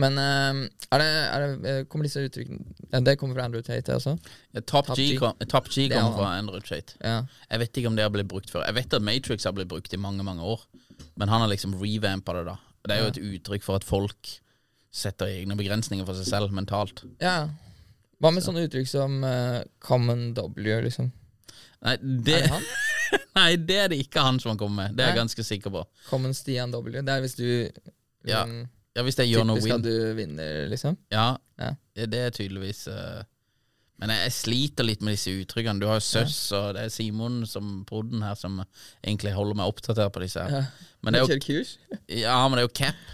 [SPEAKER 3] Men eh, er det, er det, eh, kommer disse uttrykkene ja, Det kommer fra Andrew Tate det også?
[SPEAKER 2] Ja, Top,
[SPEAKER 3] Top
[SPEAKER 2] G,
[SPEAKER 3] G.
[SPEAKER 2] kom, top G
[SPEAKER 3] Det er
[SPEAKER 2] kommer
[SPEAKER 3] han.
[SPEAKER 2] fra Andrew Tate.
[SPEAKER 3] Ja.
[SPEAKER 2] Jeg vet ikke om det har blitt brukt før. Jeg vet at Matrix har blitt brukt i mange mange år, men han har liksom revampa det, da. Det er jo et uttrykk for at folk setter egne begrensninger for seg selv mentalt.
[SPEAKER 3] ja. Hva med sånne uttrykk som eh, common W, liksom?
[SPEAKER 2] Nei det,
[SPEAKER 3] Er det han?
[SPEAKER 2] nei, det er det ikke han som har kommet med. Det er jeg
[SPEAKER 3] Nei.
[SPEAKER 2] ganske sikker på.
[SPEAKER 3] Common Stian W. Det er hvis du
[SPEAKER 2] Ja,
[SPEAKER 3] mm,
[SPEAKER 2] Ja, Hvis det er You're No
[SPEAKER 3] Typisk
[SPEAKER 2] Win.
[SPEAKER 3] at du vinner, liksom.
[SPEAKER 2] Ja,
[SPEAKER 3] Ja.
[SPEAKER 2] det det er tydeligvis eh, Men jeg, jeg sliter litt med disse uttrykkene. Du har jo Søss, og det er Simon som podden her som egentlig holder meg oppdatert på disse. her
[SPEAKER 3] Ja.
[SPEAKER 2] Men, det er jo,
[SPEAKER 3] Kjører kurs.
[SPEAKER 2] ja, men det er jo cap.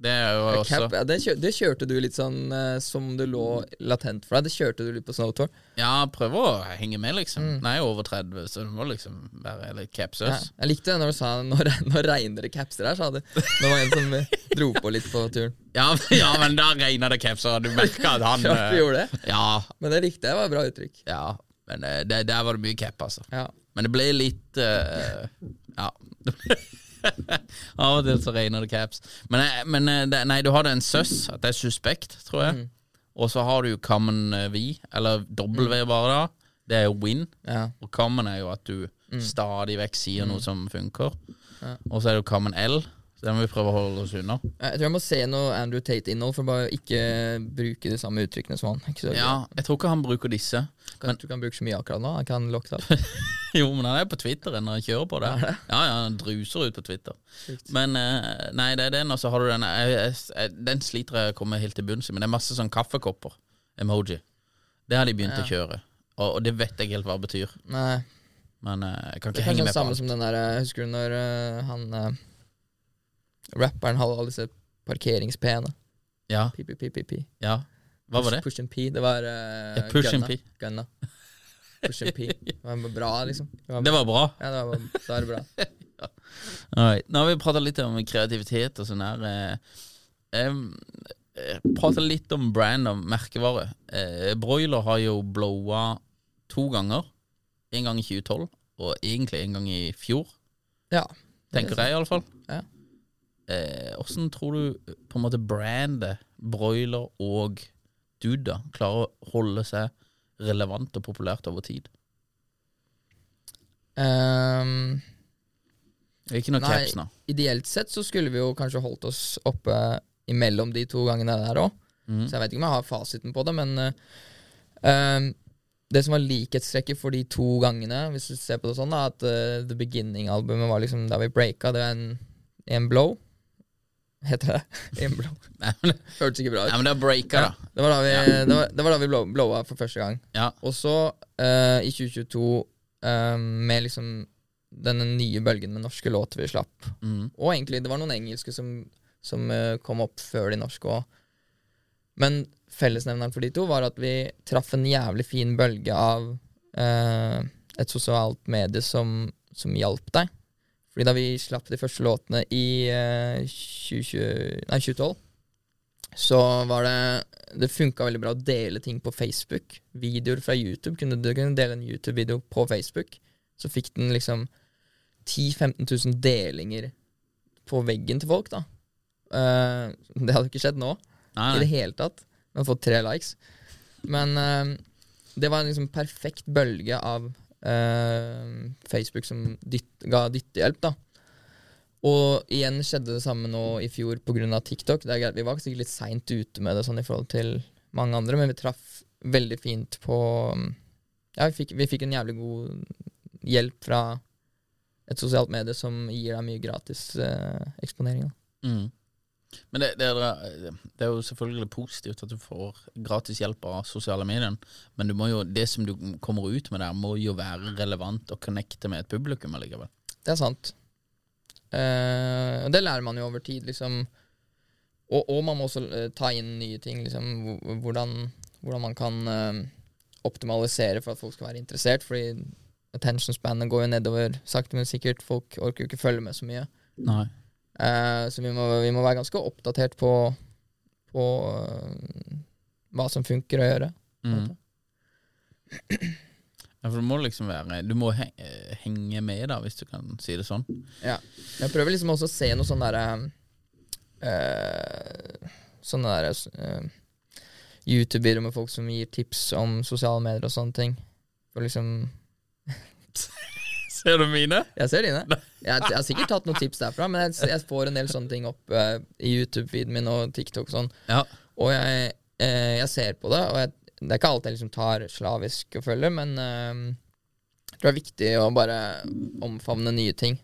[SPEAKER 2] Det er jo
[SPEAKER 3] Ja,
[SPEAKER 2] også
[SPEAKER 3] Cap, ja, det, kjør, det kjørte du litt sånn eh, som det lå latent for deg. Det kjørte du litt på Snowtour.
[SPEAKER 2] Ja, prøv å henge med, liksom. Nei, jeg er over 30, så det må liksom være litt
[SPEAKER 3] Mm. Ja.
[SPEAKER 2] cap-søs.
[SPEAKER 3] Jeg likte det når du sa Nå re- nå regner det capser her, sa du. Det var en som eh, dro på litt på turen.
[SPEAKER 2] Ja. men- ja, men da regner det cap, så du merka at han
[SPEAKER 3] Klart
[SPEAKER 2] eh,
[SPEAKER 3] vi gjorde det.
[SPEAKER 2] Ja,
[SPEAKER 3] Men det likte jeg. var et bra uttrykk.
[SPEAKER 2] ja. Men eh, det, der var det mye cap, altså.
[SPEAKER 3] Ja.
[SPEAKER 2] Men det ble litt eh, Ja. Av og til så regner det caps. Men, eh, men eh, det, nei, du har det en søss, at det er suspekt, tror jeg. Og så har du jo common eh, V, eller W bare, da. Det er jo win.
[SPEAKER 3] ja.
[SPEAKER 2] Og common er jo at du stadig vekk sier noe som funker. Og så er det jo common L. Så den må vi prøve å holde oss unna.
[SPEAKER 3] Jeg tror jeg må se noe Andrew Tate-innhold for bare å ikke bruke de samme uttrykkene som han. Ikke så
[SPEAKER 2] Ja, jeg tror ikke han bruker disse.
[SPEAKER 3] kan, du kan bruke så mye akkurat nå. Han kan lokke det opp.
[SPEAKER 2] Jo, men han er på Twitter når han kjører på det. Ja, ja, han druser ut på Twitter. Men eh, nei, det er den, og så har du den eh, jeg, jeg, jeg, Den sliter jeg å komme helt til bunns i, men det er masse sånn kaffekopper. Emoji. Det har de begynt å kjøre, og, og det vet jeg helt hva det betyr.
[SPEAKER 3] Nei,
[SPEAKER 2] Men eh, jeg kan
[SPEAKER 3] det
[SPEAKER 2] ikke
[SPEAKER 3] er kanskje
[SPEAKER 2] henge
[SPEAKER 3] det
[SPEAKER 2] med på
[SPEAKER 3] samme
[SPEAKER 2] alt.
[SPEAKER 3] som den der eh, Husker du når eh, han eh, rapperen hadde alle disse parkeringspene?
[SPEAKER 2] Ja,
[SPEAKER 3] Pi, pi, pi, pi, pi.
[SPEAKER 2] ja. Hva var det?
[SPEAKER 3] Push, push and pee. Det var eh,
[SPEAKER 2] Ja, push and
[SPEAKER 3] gunna.
[SPEAKER 2] pee.
[SPEAKER 3] Gunna. Push and pee. Det var bra, liksom. Det var,
[SPEAKER 2] Det var bra.
[SPEAKER 3] Ja, det var, da er det bra.
[SPEAKER 2] Alright. Nå har vi prata litt om kreativitet og sånn her. Eh, em, eh, prata litt om brand og merkevare. Eh, Broiler har jo blowa to ganger. En gang i 2012, og egentlig en gang i fjor,
[SPEAKER 3] Ja.
[SPEAKER 2] tenker jeg iallfall.
[SPEAKER 3] Ja.
[SPEAKER 2] Åssen Eh, tror du på en måte brandet Broiler og Duda klarer å holde seg relevant og populært over tid?
[SPEAKER 3] Ehm,
[SPEAKER 2] Ikke noe
[SPEAKER 3] Nei.
[SPEAKER 2] caps nå.
[SPEAKER 3] ideelt sett så skulle vi jo kanskje holdt oss oppe imellom de to gangene der òg.
[SPEAKER 2] Mhm.
[SPEAKER 3] Så jeg vet ikke om jeg har fasiten på det, men eh, ehm, det som var likhetstrekket for de to gangene, hvis du ser på det sånn, da, at eh, The Beginning-albumet var liksom der vi breaka. Det er en, en blow. Heter det En blow.
[SPEAKER 2] Nei, men,
[SPEAKER 3] Hørtes ikke bra
[SPEAKER 2] nei,
[SPEAKER 3] ut.
[SPEAKER 2] men det er breaka,
[SPEAKER 3] Ja,
[SPEAKER 2] da.
[SPEAKER 3] det var da vi, det var, det var da vi blow, blowa for første gang.
[SPEAKER 2] Ja.
[SPEAKER 3] Og så, eh, i 2022, eh, med liksom denne nye bølgen med norske låter vi slapp
[SPEAKER 2] Mhm.
[SPEAKER 3] Og egentlig, det var noen engelske som, som eh, kom opp før de norske òg. Men fellesnevneren for de to var at vi traff en jævlig fin bølge av eh, et sosialt medie som, som hjalp deg. Fordi da vi slapp de første låtene i eh, 2020, nei, 2012, så var det Det funka veldig bra å dele ting på Facebook. Videoer fra YouTube. Kunne, du kunne dele en YouTube-video på Facebook. Så fikk den liksom 10 000-15 000 delinger på veggen til folk, da. Eh, det hadde ikke skjedd nå
[SPEAKER 2] Nei,
[SPEAKER 3] i
[SPEAKER 2] nei.
[SPEAKER 3] det hele tatt. Men fått tre likes. Men eh, det var en liksom perfekt bølge av eh, Facebook som dytt, ga dyttehjelp, da. Og igjen skjedde det samme nå i fjor pga. TikTok. Det er greit, Vi var sikkert litt seint ute med det sånn i forhold til mange andre, men vi traff veldig fint på mm, Ja, vi fikk, vi fikk en jævlig god hjelp fra et sosialt medie som gir deg mye gratis eh, eksponering. Da.
[SPEAKER 2] Mm. Men det, det, er, det er jo selvfølgelig positivt at du får gratis hjelp av sosiale medier, men du må jo, det som du kommer ut med der, må jo være relevant og connecte med et publikum allikevel.
[SPEAKER 3] Det er sant. Eh, og det lærer man jo over tid, liksom. Og, og man må også eh, ta inn nye ting, liksom. hvor- Hvordan, hvordan man kan eh, optimalisere for at folk skal være interessert. Fordi attention spannet går jo nedover sakte, men sikkert. Folk orker jo ikke følge med så mye.
[SPEAKER 2] Nei.
[SPEAKER 3] Eh, så vi må, vi må være ganske oppdatert på, på eh, hva som funker å gjøre. på en
[SPEAKER 2] Mm.
[SPEAKER 3] måte.
[SPEAKER 2] Ja, for du må liksom være Du må he- eh, henge med, da, hvis du kan si det sånn.
[SPEAKER 3] Ja. Jeg prøver liksom også å se noe sånn derre eh, Sånne derre uh, YouTuber med folk som gir tips om sosiale medier og sånne ting. For liksom
[SPEAKER 2] Ser du mine?
[SPEAKER 3] Jeg ser dine. Jeg, jeg har sikkert tatt noen tips derfra, men jeg, jeg får en del sånne ting opp eh, i YouTube-feeden min og TikTok og sånn.
[SPEAKER 2] Ja.
[SPEAKER 3] Og jeg, eh, jeg ser på det, og jeg, det er ikke alt jeg liksom tar slavisk og følger, men eh, jeg tror det er viktig å bare omfavne nye ting.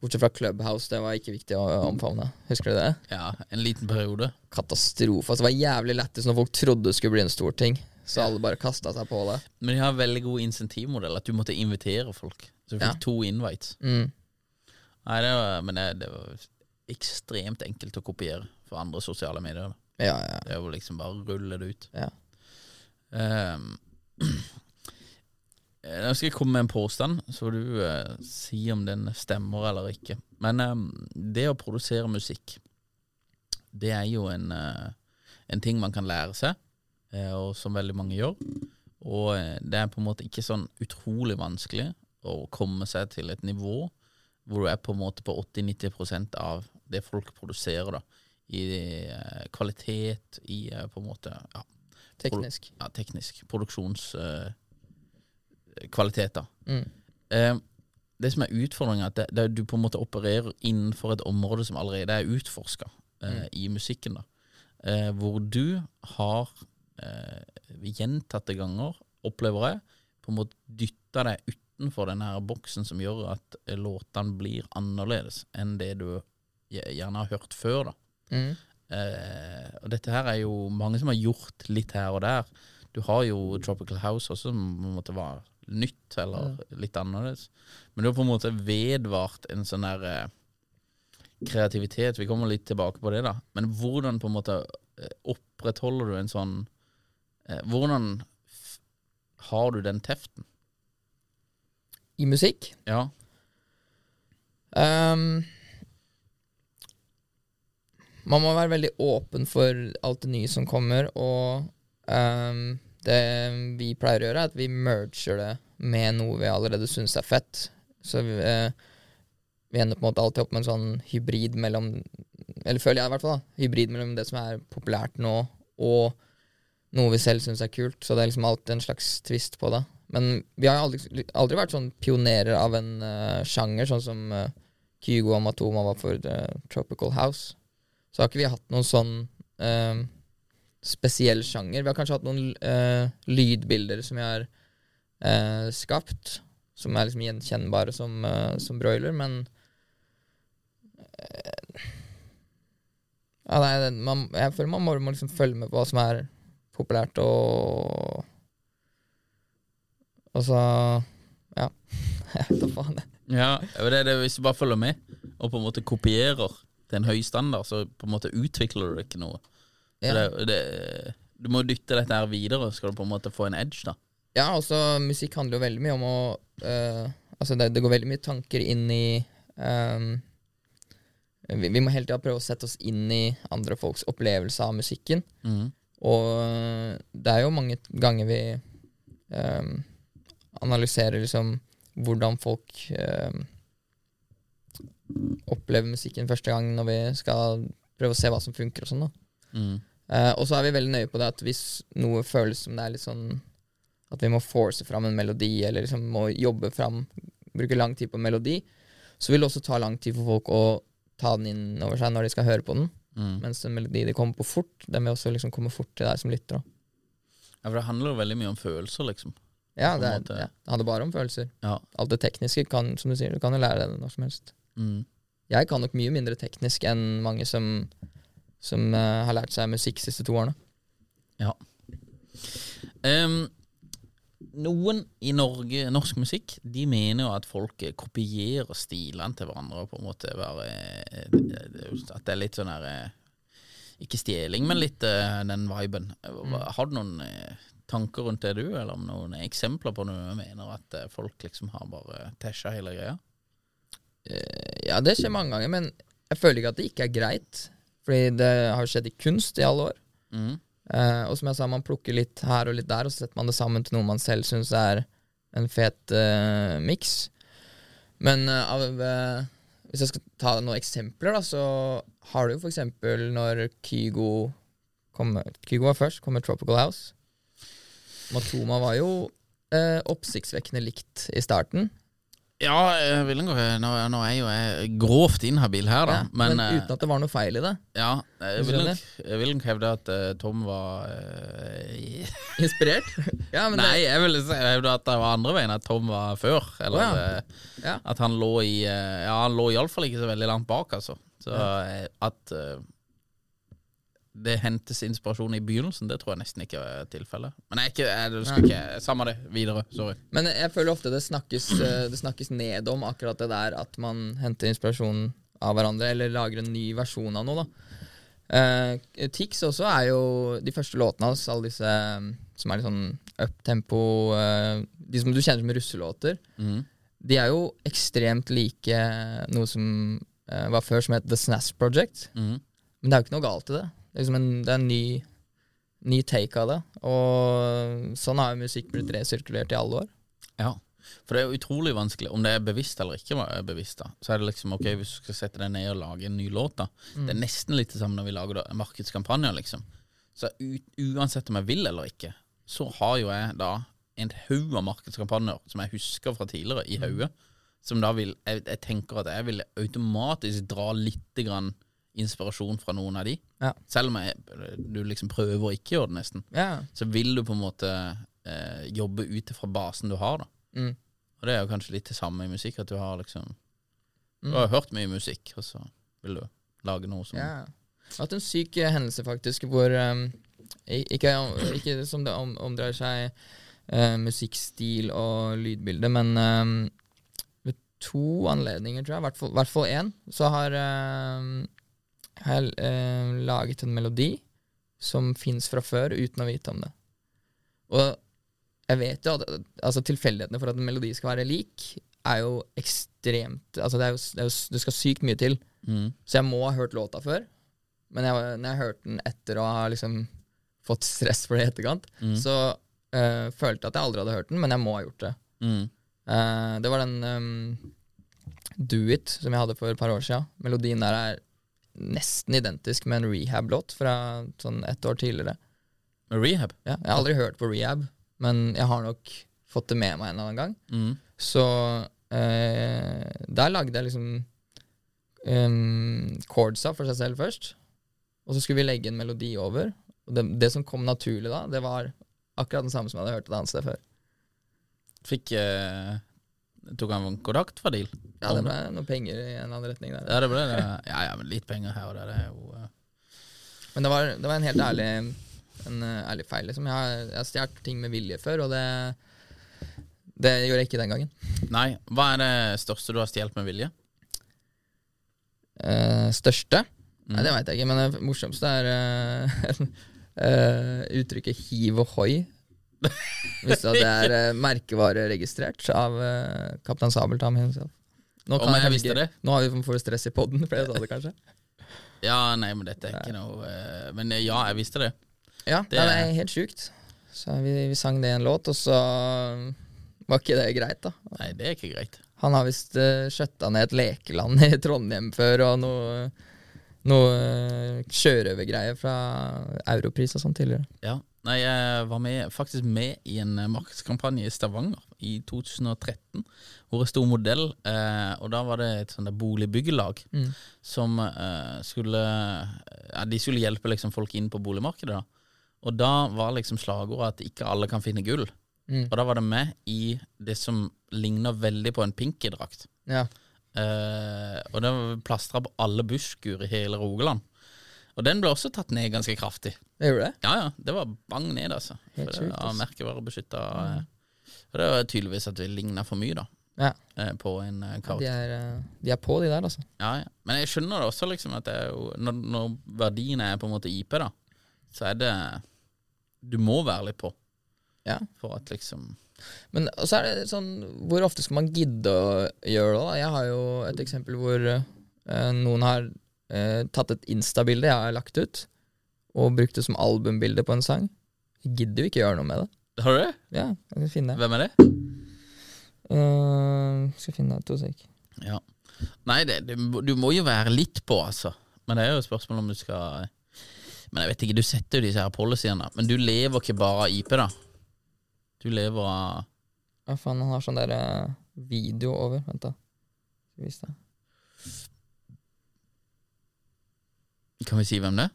[SPEAKER 3] Bortsett fra Clubhouse, det var ikke viktig å omfavne. Husker du det?
[SPEAKER 2] ja. En liten periode.
[SPEAKER 3] Katastrofe. Altså, det var jævlig lættis når folk trodde det skulle bli en stor ting. Så alle bare kasta seg på det.
[SPEAKER 2] Men de har en veldig god insentivmodell, at du måtte invitere folk. Så du fikk
[SPEAKER 3] Ja.
[SPEAKER 2] to invites.
[SPEAKER 3] Mm.
[SPEAKER 2] Nei, det var, men det, det var ekstremt enkelt å kopiere fra andre sosiale medier. da.
[SPEAKER 3] Ja, ja,
[SPEAKER 2] Det var liksom bare å rulle det ut.
[SPEAKER 3] ja.
[SPEAKER 2] Ehm, eh, Nå skal jeg komme med en påstand, så får du eh, si om den stemmer eller ikke. Men ehm, det å produsere musikk, det er jo en, eh, en ting man kan lære seg, eh, og som veldig mange gjør. Og eh, det er på en måte ikke sånn utrolig vanskelig å komme seg til et nivå hvor du er på en måte på 80-90 av det folk produserer, da. I eh, kvalitet, i eh, på en måte ja,
[SPEAKER 3] Teknisk.
[SPEAKER 2] ja, teknisk. eh, Produksjonskvalitet, da.
[SPEAKER 3] Mm.
[SPEAKER 2] Eh, det som er utfordringen, er at det, det, er du på en måte opererer innenfor et område som allerede er utforska eh, i musikken. da. Eh, hvor du har eh, gjentatte ganger, opplever jeg, på en måte dytta deg utenfor den her boksen som gjør at eh, låtene blir annerledes enn det du gje- gjerne har hørt før. da.
[SPEAKER 3] Mm.
[SPEAKER 2] Eh, og dette her er jo mange som har gjort litt her og der. Du har jo Tropical House også, som på en måte var nytt eller litt annerledes. Men du har på en måte vedvart en sånn der eh, kreativitet. Vi kommer litt tilbake på det, da. Men hvordan på en måte eh, opprettholder du en sånn eh, Hvordan f har du den teften?
[SPEAKER 3] I musikk
[SPEAKER 2] Ja.
[SPEAKER 3] Ehm, man må være veldig åpen for alt det nye som kommer, og ehm, det vi pleier å gjøre, er at vi merger det med noe vi allerede syns er fett. Så vi, eh, vi ender på en måte alltid opp med en sånn hybrid mellom Eller føler jeg i hvert fall, da. Hybrid mellom det som er populært nå, og noe vi selv syns er kult. Så det er liksom alltid en slags twist på det. Men vi har aldri, aldri vært sånn pionerer av en eh, sjanger, sånn som eh, Kygo og Matoma var for eh, Tropical House. Så har ikke vi hatt noen sånn eh, spesiell sjanger. Vi har kanskje hatt noen eh, lydbilder som vi har eh, skapt, som er liksom gjenkjennbare som, eh, som broiler, men eh, ja, nei, det- man, Jeg føler man må, må liksom følge med på hva som er populært og Og så Ja. Jeg vet da faen. jeg.
[SPEAKER 2] Ja, og det er det, Hvis du bare følger med og på en måte kopierer til en høy standard, så på en måte utvikler du ikke noe. Så
[SPEAKER 3] Ja.
[SPEAKER 2] Det, det, du må dytte dette her videre, skal du på en måte få en edge. da
[SPEAKER 3] Ja, også musikk handler jo veldig mye om å eh, Altså, det, det går veldig mye tanker inn i ehm, vi, vi må hele tida prøve å sette oss inn i andre folks opplevelse av musikken. Og eh, det er jo mange t- ganger vi ehm, analyserer liksom hvordan folk ehm, opplever musikken første gang, når vi skal prøve å se hva som funker og sånn. da. Eh, og så er vi veldig nøye på det at hvis noe føles som det er litt sånn at vi må force fram en melodi, eller liksom må jobbe fram, bruke lang tid på en melodi, så vil det også ta lang tid for folk å ta den inn over seg når de skal høre på den.
[SPEAKER 2] Mm.
[SPEAKER 3] Mens en melodi de kommer på fort, den vil også liksom komme fort til deg som lytter. Da.
[SPEAKER 2] Ja, For det handler jo veldig mye om følelser, liksom. På
[SPEAKER 3] Ja,
[SPEAKER 2] en
[SPEAKER 3] det, er-
[SPEAKER 2] måte.
[SPEAKER 3] ja, det handler bare om følelser.
[SPEAKER 2] Ja.
[SPEAKER 3] Alt det tekniske kan, som du sier, du kan jo lære deg det når som helst.
[SPEAKER 2] Mm.
[SPEAKER 3] Jeg kan nok mye mindre teknisk enn mange som, som eh, har lært seg musikk de siste to årene.
[SPEAKER 2] ja. Em, noen i Norge, norsk musikk De mener jo at folk eh, kopierer stilene til hverandre. Og på en måte bare, eh, det- det- At det er litt sånn her eh, Ikke stjeling, men litt eh, den viben. Eh, hva- Har du noen eh, tanker rundt det, du? Eller om noen eksempler på noe du mener at eh, folk liksom har bare tæsja hele greia?
[SPEAKER 3] Ja, det skjer mange ganger, men jeg føler ikke at det ikke er greit. Fordi det har jo skjedd i kunst i alle år. Eh, og som jeg sa, man plukker litt her og litt der, og så setter man det sammen til noe man selv syns er en fet uh, miks. Men eh, av, eh, hvis jeg skal ta noen eksempler, da, så har du jo for eksempel når Kygo kom, Kygo var først, kom med Tropical House. Matoma var jo eh, oppsiktsvekkende likt i starten.
[SPEAKER 2] Ja, jeg vil gå, nå, nå er jeg jo jeg grovt inhabil her, da.
[SPEAKER 3] Ja,
[SPEAKER 2] men
[SPEAKER 3] men eh, uten at det var noe feil i det.
[SPEAKER 2] eh, ja, jeg
[SPEAKER 3] Du
[SPEAKER 2] vil,
[SPEAKER 3] skjønner?
[SPEAKER 2] nok, jeg vil nok hevde at eh, Tom var eh,
[SPEAKER 3] Inspirert? ja, men
[SPEAKER 2] Nei, jeg vil si- hevde at det var andre veien, at Tom var før. Eller
[SPEAKER 3] Å, ja.
[SPEAKER 2] eh,
[SPEAKER 3] Ja.
[SPEAKER 2] at han lå i eh, Ja, han lå iallfall ikke så veldig langt bak, altså. Så eh, at eh, det hentes inspirasjon i begynnelsen, det tror jeg nesten ikke er tilfellet. Men jeg er ikke, jeg, det skal ikke Samme det, videre. Sorry.
[SPEAKER 3] Men jeg føler ofte det snakkes, eh, det snakkes ned om akkurat det der at man henter inspirasjon av hverandre, eller lager en ny versjon av noe, da. Eh, Tix også er jo de første låtene hans, alle disse eh, som er litt sånn uptempo eh, De som du kjenner som russelåter, de er jo ekstremt like noe som eh, var før, som het The Snass Project. Men det er jo ikke noe galt i det. Det er, liksom en, det er en ny, ny take av det. Og sånn har jo musikk blitt resirkulert i alle år.
[SPEAKER 2] Ja. For det er jo utrolig vanskelig, om det er bevisst eller ikke er bevisst, da, så er det liksom ok, hvis du skal sette deg ned og lage en ny låt, da. Det er nesten litt det samme når vi lager da, markedskampanjer, liksom. Så u uansett om jeg vil eller ikke, så har jo jeg da en haug av markedskampanjer som jeg husker fra tidligere, i hodet. Som da vil jeg, jeg tenker at jeg vil automatisk dra litt grann inspirasjon fra noen av de.
[SPEAKER 3] Ja.
[SPEAKER 2] Selv om jeg, du liksom prøver å ikke gjøre det, nesten
[SPEAKER 3] Ja,
[SPEAKER 2] så vil du på en måte eh, jobbe ut fra basen du har. da.
[SPEAKER 3] Mm.
[SPEAKER 2] Og det er jo kanskje litt det samme i musikk, at du har liksom Du har hørt mye musikk, og så vil du lage noe som
[SPEAKER 3] Mm. ja. Jeg har hatt en syk eh, hendelse, faktisk, hvor um, i- ikke, ikke som det om, omdreier seg eh, musikkstil og lydbilde, men um, ved to anledninger, tror jeg, i hvert fall- i hvert fall én, så har um, har jeg eh, laget en melodi som fins fra før, uten å vite om det. Og jeg vet jo at altså, tilfeldighetene for at en melodi skal være lik, er jo ekstremt Altså, det, er jo, det, er jo, det skal sykt mye til.
[SPEAKER 2] Mm.
[SPEAKER 3] Så jeg må ha hørt låta før. Men jeg, når jeg hørte den etter å ha liksom fått stress for det i etterkant, så øh, følte jeg at jeg aldri hadde hørt den, men jeg må ha gjort det.
[SPEAKER 2] Mm.
[SPEAKER 3] Eh, det var den ehm, Do It som jeg hadde for et par år siden. Melodien der er nesten identisk med en rehab-låt fra sånn ett år tidligere.
[SPEAKER 2] Med rehab.
[SPEAKER 3] Ja, jeg har aldri hørt på rehab, men jeg har nok fått det med meg en eller annen gang.
[SPEAKER 2] Mm.
[SPEAKER 3] Så eh, der lagde jeg liksom em, chordsa for seg selv først. Og så skulle vi legge en melodi over. Og det, det som kom naturlig da, det var akkurat den samme som jeg hadde hørt et annet sted før.
[SPEAKER 2] Fikk eh, Tok han en kontakt fra deal?
[SPEAKER 3] Ja, det ble noen penger i en eller annen retning der.
[SPEAKER 2] Ja, det ble det. Ja, ja, men litt penger her og der det er jo eh,
[SPEAKER 3] Men det var, det var en helt ærlig, en, eh, ærlig feil, liksom. Jeg har, jeg har stjålet ting med vilje før, og det, det gjorde jeg ikke den gangen.
[SPEAKER 2] Nei, hva er det største du har stjålet med vilje?
[SPEAKER 3] Eh, største? Nei,
[SPEAKER 2] Mm.
[SPEAKER 3] det veit jeg ikke, men det morsomste er eh, eh, uttrykket hiv og hoi. Visste du at det er eh, merkevareregistrert av eh, Kaptein Sabeltann himself? Nå,
[SPEAKER 2] Om jeg
[SPEAKER 3] kanskje
[SPEAKER 2] visste
[SPEAKER 3] ikke-
[SPEAKER 2] det?
[SPEAKER 3] nå har vi får stress i poden, for jeg sa det kanskje?
[SPEAKER 2] Ja, nei, men dette er ikke noe eh, Men eh, ja, jeg visste det.
[SPEAKER 3] Ja,
[SPEAKER 2] Det
[SPEAKER 3] det er,
[SPEAKER 2] er-
[SPEAKER 3] helt sjukt. Så vi, vi sang det i en låt, og så eh, var ikke det greit, da.
[SPEAKER 2] Nei, det er ikke greit.
[SPEAKER 3] Han har visst uh, skjøtta ned et lekeland i Trondheim før, og noe, noe eh, sjørøvergreier fra Europris og sånn tidligere.
[SPEAKER 2] Ja. Nei, jeg var med, faktisk med i en eh, markedskampanje i Stavanger i 2013, hvor jeg sto modell. Eh, og da var det et sånt der boligbyggelag som eh, skulle ja, De skulle hjelpe liksom, folk inn på boligmarkedet. da. Og da var liksom slagordet at ikke alle kan finne gull. Og da var det med i det som ligner veldig på en pinky-drakt.
[SPEAKER 3] Ja.
[SPEAKER 2] Eh, og den var plastra på alle busskur i hele Rogaland. Og den ble også tatt ned ganske kraftig.
[SPEAKER 3] Det gjorde det?
[SPEAKER 2] Ja, ja. Det var bang ned, altså. For
[SPEAKER 3] Helt
[SPEAKER 2] det
[SPEAKER 3] sjukt,
[SPEAKER 2] var
[SPEAKER 3] ass.
[SPEAKER 2] merkevarebeskytta. Og det var tydeligvis at vi ligna for mye, da.
[SPEAKER 3] Ja.
[SPEAKER 2] eh, På en eh, kaut.
[SPEAKER 3] De er, eh, de er på, de der, altså.
[SPEAKER 2] Ja, ja. Men jeg skjønner det også, liksom, at det er jo når, når verdien er på en måte IP, da, så er det Du må være litt på
[SPEAKER 3] Ja.
[SPEAKER 2] for at liksom
[SPEAKER 3] Men og så er det sånn Hvor ofte skal man gidde å gjøre det? da? Jeg har jo et eksempel hvor eh, noen har eh, tatt et Insta-bilde jeg har lagt ut, og brukt det som albumbilde på en sang. Jeg gidder jo ikke gjøre noe med det.
[SPEAKER 2] Har du det?
[SPEAKER 3] Ja, jeg skal finne det.
[SPEAKER 2] Hvem er det?
[SPEAKER 3] Eh, skal finne det, to sek.
[SPEAKER 2] Ja. Nei, det, du, du må jo være litt på, altså. Men det er jo et spørsmål om du skal Men jeg vet ikke, du setter jo disse her policyene. Men du lever ikke bare av IP, da. Du lever av
[SPEAKER 3] Ja, faen, han har sånn der eh, video over. Vent, da. Skal vi vise deg.
[SPEAKER 2] Kan vi si hvem det er?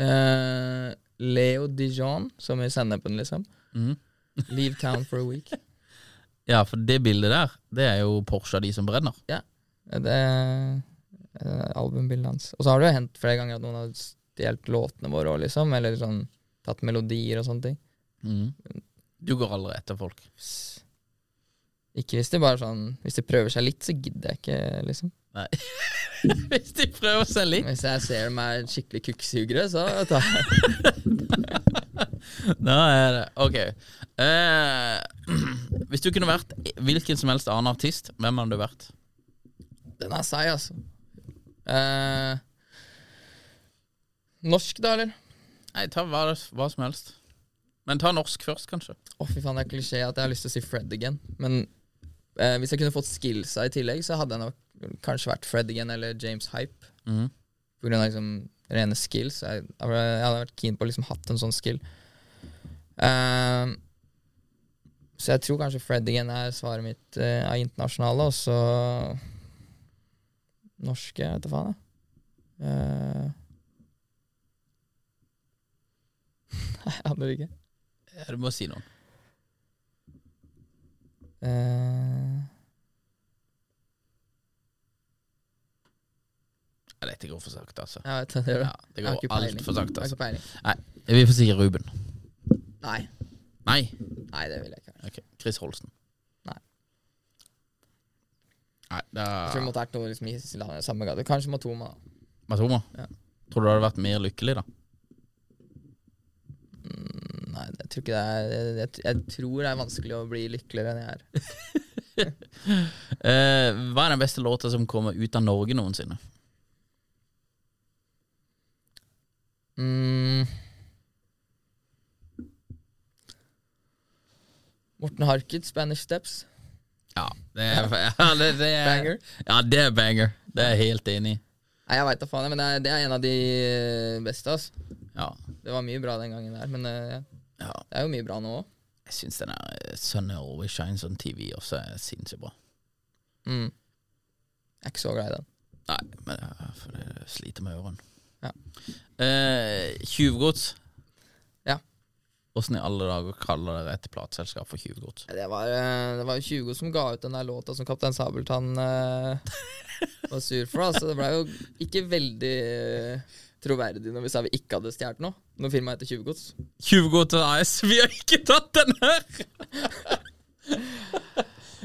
[SPEAKER 3] Eh, Leo Dijon, som i Sennepen, liksom.
[SPEAKER 2] Mhm.
[SPEAKER 3] Leave town for a week.
[SPEAKER 2] Ja, for det bildet der, det er jo Porsche av de som brenner.
[SPEAKER 3] Eh, Det er eh, albumbildet hans. Og så har det jo hendt flere ganger at noen har stjålet låtene våre òg, liksom. Eller sånn tatt melodier og sånne ting.
[SPEAKER 2] Mhm. Du går aldri etter folk.
[SPEAKER 3] S- Ikke hvis de bare sånn Hvis de prøver seg litt, så gidder jeg ikke, liksom.
[SPEAKER 2] Nei. Hvis de prøver seg litt.
[SPEAKER 3] Hvis jeg ser dem er skikkelig kukksugere, så tar jeg
[SPEAKER 2] Nå er det Ok. Eh, hvis du kunne vært hvilken som helst annen artist, hvem hadde du vært?
[SPEAKER 3] Den er seig, altså. Eh, norsk, da, eller?
[SPEAKER 2] Nei, ta hva, hva som helst. Men ta norsk først, kanskje.
[SPEAKER 3] Å, fy faen, det er klisjé at jeg har lyst til å si Fred again. Men eh, hvis jeg kunne fått skillsa i tillegg, så hadde jeg nok kanskje vært Fred again eller James Hype.
[SPEAKER 2] Mhm.
[SPEAKER 3] På grunn av liksom rene skills. Jeg, jeg hadde- jeg hadde vært keen på å liksom hatt en sånn skill. Eh, så jeg tror kanskje Fred again er svaret mitt eh, av internasjonale, og så norske, jeg vet da faen, jeg. Eh, Nei, jeg aner ikke.
[SPEAKER 2] Ja, du må si noen.
[SPEAKER 3] Eh,
[SPEAKER 2] Ja, Dette går for sakte, altså.
[SPEAKER 3] Jeg vet det, det gjør det.
[SPEAKER 2] Ja, det
[SPEAKER 3] Jeg har
[SPEAKER 2] går
[SPEAKER 3] ikke peiling.
[SPEAKER 2] altfor sakte,
[SPEAKER 3] Jeg har
[SPEAKER 2] altså.
[SPEAKER 3] ikke peiling.
[SPEAKER 2] Nei, vi får si Ruben.
[SPEAKER 3] Nei.
[SPEAKER 2] Nei.
[SPEAKER 3] Nei, det vil jeg ikke. være.
[SPEAKER 2] Ok, Chris Holsten.
[SPEAKER 3] Nei.
[SPEAKER 2] Nei, da
[SPEAKER 3] Jeg tror det måtte vært noe liksom, i samme gate. Kanskje Matoma. da.
[SPEAKER 2] Matoma?
[SPEAKER 3] Ja.
[SPEAKER 2] Tror du du hadde vært mer lykkelig, da?
[SPEAKER 3] Nei, jeg tror ikke det er jeg, jeg tror det er vanskelig å bli lykkeligere enn jeg er.
[SPEAKER 2] Eh, hva er den beste låta som kommer ut av Norge noensinne?
[SPEAKER 3] Mm. Morten Harket, 'Spanish Steps'.
[SPEAKER 2] Ja, det er, ja, det, det er
[SPEAKER 3] Banger.
[SPEAKER 2] Ja, det er banger. Det er jeg helt enig i.
[SPEAKER 3] Nei, jeg veit da faen, jeg, men det er, det er en av de eh, beste. Altså.
[SPEAKER 2] Ja.
[SPEAKER 3] Det var mye bra den gangen der, men eh,
[SPEAKER 2] ja.
[SPEAKER 3] det er jo mye bra nå òg.
[SPEAKER 2] Jeg syns den der eh, Sun Always Shines on TV også er sinnssykt bra.
[SPEAKER 3] Mm. Jeg er ikke så glad i den.
[SPEAKER 2] Nei, men eh, for det sliter med ørene.
[SPEAKER 3] Ja.
[SPEAKER 2] Eh, Tjuvgods.
[SPEAKER 3] Ja.
[SPEAKER 2] Åssen i alle dager kaller dere et plateselskap for tjuvgods?
[SPEAKER 3] Det var, eh, det var jo 20 som ga ut den der låta som Kaptein Sabeltann eh, var sur for. da, Så det blei jo ikke veldig eh, troverdig når vi sa vi ikke hadde stjålet noe. Når firmaet heter Tjuvgods.
[SPEAKER 2] Tjuvgods AS, vi har ikke tatt den her!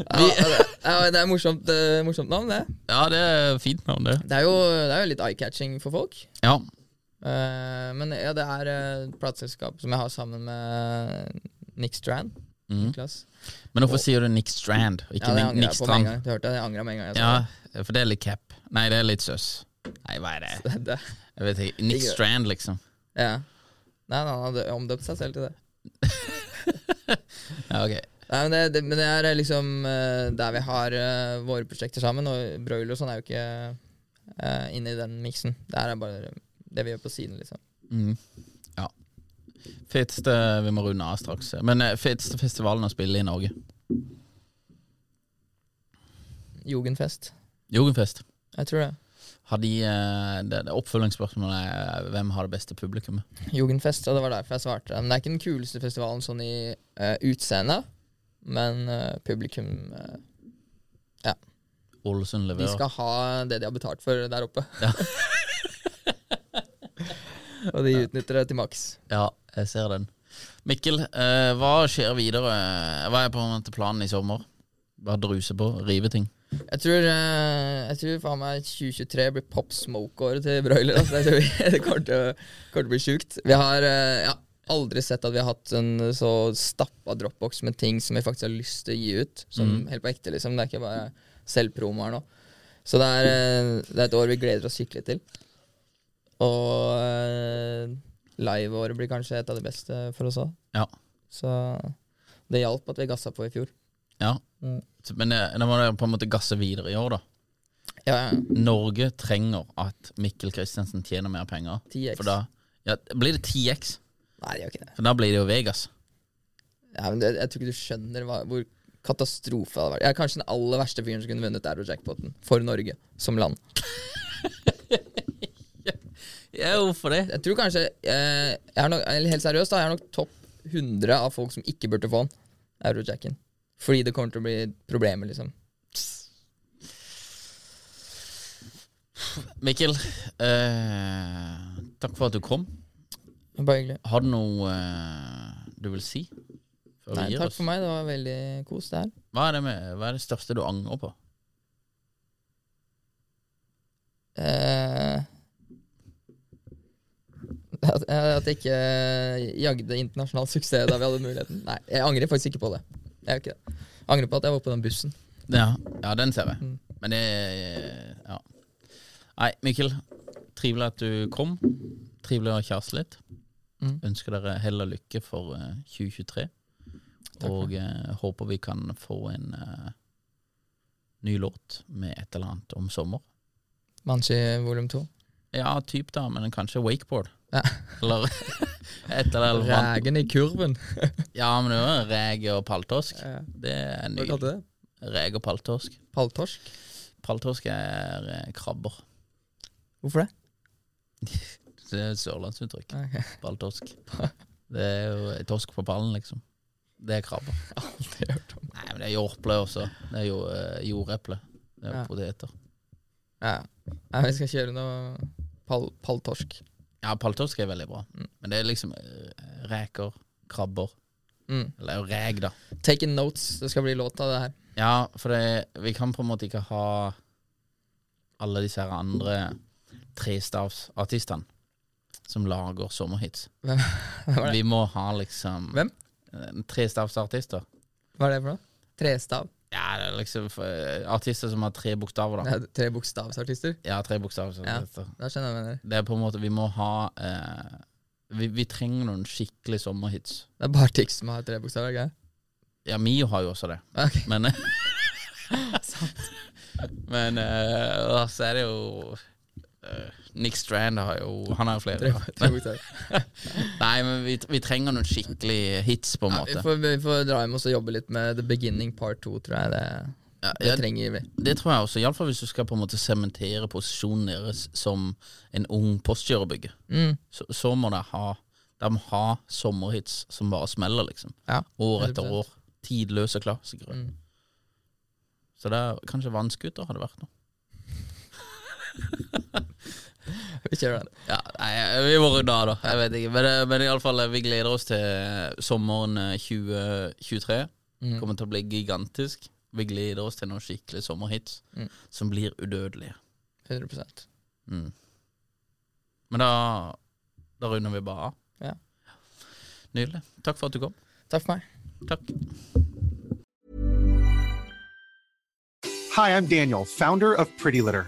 [SPEAKER 3] Ja, det, ja, det er morsomt, eh, morsomt navn, det.
[SPEAKER 2] Ja, det er fint navn, det.
[SPEAKER 3] Det er jo, det er jo litt eye-catching for folk.
[SPEAKER 2] Ja.
[SPEAKER 3] Eh, men ja, det er eh, et plateselskap som jeg har sammen med Nick Strand.
[SPEAKER 2] Mhm.
[SPEAKER 3] Niklas.
[SPEAKER 2] Men hvorfor sier du Nick Strand, og
[SPEAKER 3] Ja,
[SPEAKER 2] ikke
[SPEAKER 3] det
[SPEAKER 2] Nick-
[SPEAKER 3] angrer
[SPEAKER 2] Nick
[SPEAKER 3] jeg på med en
[SPEAKER 2] Strand?
[SPEAKER 3] gang. Du hørte jeg angra med en gang. jeg sa
[SPEAKER 2] Ja, for det er litt cap. Nei, det er litt søss. Nei, hva er det?
[SPEAKER 3] det. Det-
[SPEAKER 2] Jeg vet ikke. Nick
[SPEAKER 3] Ikke-
[SPEAKER 2] Strand, liksom.
[SPEAKER 3] Ja. Nei, nei, han hadde omdøpt seg selv til det.
[SPEAKER 2] Ja, ok.
[SPEAKER 3] Nei, men det, det, men det er liksom eh, der vi har eh, våre prosjekter sammen, og broiler og sånn er jo ikke eh, inne i den miksen. Det her er bare det vi gjør på siden, liksom.
[SPEAKER 2] Mm. Ja. Feteste Vi må runde av straks. Men eh, feteste festivalen å spille i Norge?
[SPEAKER 3] Jugendfest.
[SPEAKER 2] Jugendfest.
[SPEAKER 3] Jeg tror det.
[SPEAKER 2] Har de, eh, det, det Oppfølgingsspørsmålet er hvem har det beste publikummet?
[SPEAKER 3] Jugendfest, og det var derfor jeg svarte. Men det er ikke den kuleste festivalen sånn i uh, utseende, men eh, publikum eh,
[SPEAKER 2] Ålesund
[SPEAKER 3] De
[SPEAKER 2] leverer.
[SPEAKER 3] skal ha det de har betalt for der oppe. og de utnytter det til maks.
[SPEAKER 2] Ja, jeg ser den. Mikkel, eh, hva skjer videre? Hva er på en måte planen i sommer? Bare druse på, rive ting.
[SPEAKER 3] Jeg tror, eh, jeg tror faen meg 2023 blir pop smoke-året til broiler. Altså. Jeg tror vi- det kommer til, å- kommer til å bli sjukt. Vi har, eh, jeg har aldri sett at vi har hatt en så stappa dropbox med ting som vi faktisk har lyst til å gi ut. Som helt på ekte, liksom. Det er ikke bare selvpromo her nå. Så det er, eh, det er et år vi gleder oss skikkelig til. Og eh, Live-året blir kanskje et av de beste for oss òg.
[SPEAKER 2] Ja.
[SPEAKER 3] Så det hjalp at vi gassa på i fjor.
[SPEAKER 2] ja.
[SPEAKER 3] Mm.
[SPEAKER 2] Så- Men eh, da må dere på en måte gasse videre i år, da.
[SPEAKER 3] Ja, ja.
[SPEAKER 2] Norge trenger at Mikkel Kristiansen tjener mer penger.
[SPEAKER 3] 10x.
[SPEAKER 2] For da ja, Blir det 10X?
[SPEAKER 3] Nei, det gjør ikke det.
[SPEAKER 2] For da blir det jo Vegas.
[SPEAKER 3] Ja, men det, jeg tror ikke du skjønner hva, hvor katastrofe det hadde vært. Jeg er kanskje den aller verste fyren som kunne vunnet Eurojackpoten for Norge som land.
[SPEAKER 2] Ja, hvorfor det?
[SPEAKER 3] Jeg tror kanskje eh, jeg er nok, eller Helt seriøst, da, jeg er nok topp 100 av folk som ikke burde få den, Eurojacken. Fordi det kommer til å bli problemer, liksom.
[SPEAKER 2] Mikkel, eh, takk for at du kom.
[SPEAKER 3] Bare hyggelig.
[SPEAKER 2] Har du noe eh, du vil si? Før vi
[SPEAKER 3] Nei,
[SPEAKER 2] gir
[SPEAKER 3] takk
[SPEAKER 2] oss?
[SPEAKER 3] for meg. Det var veldig kos, det her.
[SPEAKER 2] Hva er det, med, hva er det største du angrer på?
[SPEAKER 3] Eh, at, at jeg ikke jagde internasjonal suksess da vi hadde muligheten. Nei, jeg angrer faktisk ikke på det. Jeg, gjør ikke det. jeg angrer på at jeg var på den bussen.
[SPEAKER 2] Ja, den ser jeg.
[SPEAKER 3] Mm.
[SPEAKER 2] Men det Ja. Nei, Mikkel. Trivelig at du kom. Trivelig å kjase litt.
[SPEAKER 3] Mm.
[SPEAKER 2] Ønsker dere hell og lykke for eh, 2023. og eh, håper vi kan få en eh, ny låt med et eller annet om sommer.
[SPEAKER 3] Manchi volum to.
[SPEAKER 2] Ja, typ da, men kanskje wakeboard.
[SPEAKER 3] Ja.
[SPEAKER 2] Eller et eller annet. vann.
[SPEAKER 3] Rægen i kurven.
[SPEAKER 2] Ja, men det var reg og paltorsk.
[SPEAKER 3] Ja.
[SPEAKER 2] Det er
[SPEAKER 3] Hva
[SPEAKER 2] ny.
[SPEAKER 3] kalte du det?
[SPEAKER 2] Reg og paltorsk.
[SPEAKER 3] Palltorsk?
[SPEAKER 2] Paltorsk er eh, krabber.
[SPEAKER 3] Hvorfor det?
[SPEAKER 2] Det er et eh, sørlandsuttrykk.
[SPEAKER 3] Ok.
[SPEAKER 2] Paltorsk. Det er jo torsk på pallen, liksom. Det er krabber.
[SPEAKER 3] Aldri hørt om.
[SPEAKER 2] Nei, men det er jordeple også. Det er jo eh, jordeple. Det er jo
[SPEAKER 3] Ja.
[SPEAKER 2] poteter.
[SPEAKER 3] Ja. Nei, vi skal kjøre noe pall, palltorsk.
[SPEAKER 2] Ja, paltorsk er veldig bra.
[SPEAKER 3] Mm.
[SPEAKER 2] Men det er liksom eh, reker, krabber.
[SPEAKER 3] Mm.
[SPEAKER 2] Eller jo reg, da.
[SPEAKER 3] Taking notes. Det skal bli låt av det her.
[SPEAKER 2] Ja, for det, vi kan på en måte ikke ha alle disse her andre trestavsartistene som lager sommerhits.
[SPEAKER 3] Hvem, hvem var det?
[SPEAKER 2] Vi må ha liksom
[SPEAKER 3] Hvem?
[SPEAKER 2] Eh, Trestavsartister.
[SPEAKER 3] Hva er det for noe? Trestav.
[SPEAKER 2] Ja, det er liksom eh, artister som har tre bokstaver, da.
[SPEAKER 3] Ja, tre bokstavsartister.
[SPEAKER 2] Ja, tre bokstavsartister.
[SPEAKER 3] Da skjønner jeg hva jeg mener.
[SPEAKER 2] Det er på en måte Vi må ha eh, vi, vi trenger noen skikkelig sommerhits.
[SPEAKER 3] Det er bare Tix som har tre bokstaver. ikke det?
[SPEAKER 2] Ja, Mio har jo også det,
[SPEAKER 3] Ok.
[SPEAKER 2] men eh, Men eh, så er det jo eh, Nick Strand har jo Han har jo flere.
[SPEAKER 3] Tre,
[SPEAKER 2] da.
[SPEAKER 3] tre bokstaver.
[SPEAKER 2] Nei, men vi, vi trenger noen skikkelig hits, på en
[SPEAKER 3] Ja, vi,
[SPEAKER 2] måte.
[SPEAKER 3] får, vi får dra hjem og så jobbe litt med The Beginning Part 2, tror jeg. Det,
[SPEAKER 2] Ja,
[SPEAKER 3] det
[SPEAKER 2] ja,
[SPEAKER 3] trenger vi.
[SPEAKER 2] det tror jeg også. Iallfall hvis du skal på en måte sementere posisjonen deres som en ung postgirobygger.
[SPEAKER 3] Mm.
[SPEAKER 2] Så, så må de ha De må ha sommerhits som bare smeller, liksom.
[SPEAKER 3] Ja,
[SPEAKER 2] År etter
[SPEAKER 3] 100%.
[SPEAKER 2] år. Tidløse klassikere.
[SPEAKER 3] Mm.
[SPEAKER 2] Så det er kanskje vannskuter hadde vært noe.
[SPEAKER 3] Vi kjører den.
[SPEAKER 2] Ja, nei, vi må runde av, da. Jeg vet ikke. Men, eh, men iallfall, vi gleder oss til sommeren eh, 2023.
[SPEAKER 3] Mm.
[SPEAKER 2] Kommer til å bli gigantisk. Vi gleder oss til noen skikkelig sommerhits
[SPEAKER 3] Mm.
[SPEAKER 2] som blir udødelige.
[SPEAKER 3] 100
[SPEAKER 2] Mm. Men da, da runder vi bare av.
[SPEAKER 3] Ja.
[SPEAKER 2] Nydelig. Takk for at du kom.
[SPEAKER 3] Takk for meg.
[SPEAKER 2] Takk.
[SPEAKER 5] Hi, I'm Daniel, founder of Pretty Litter.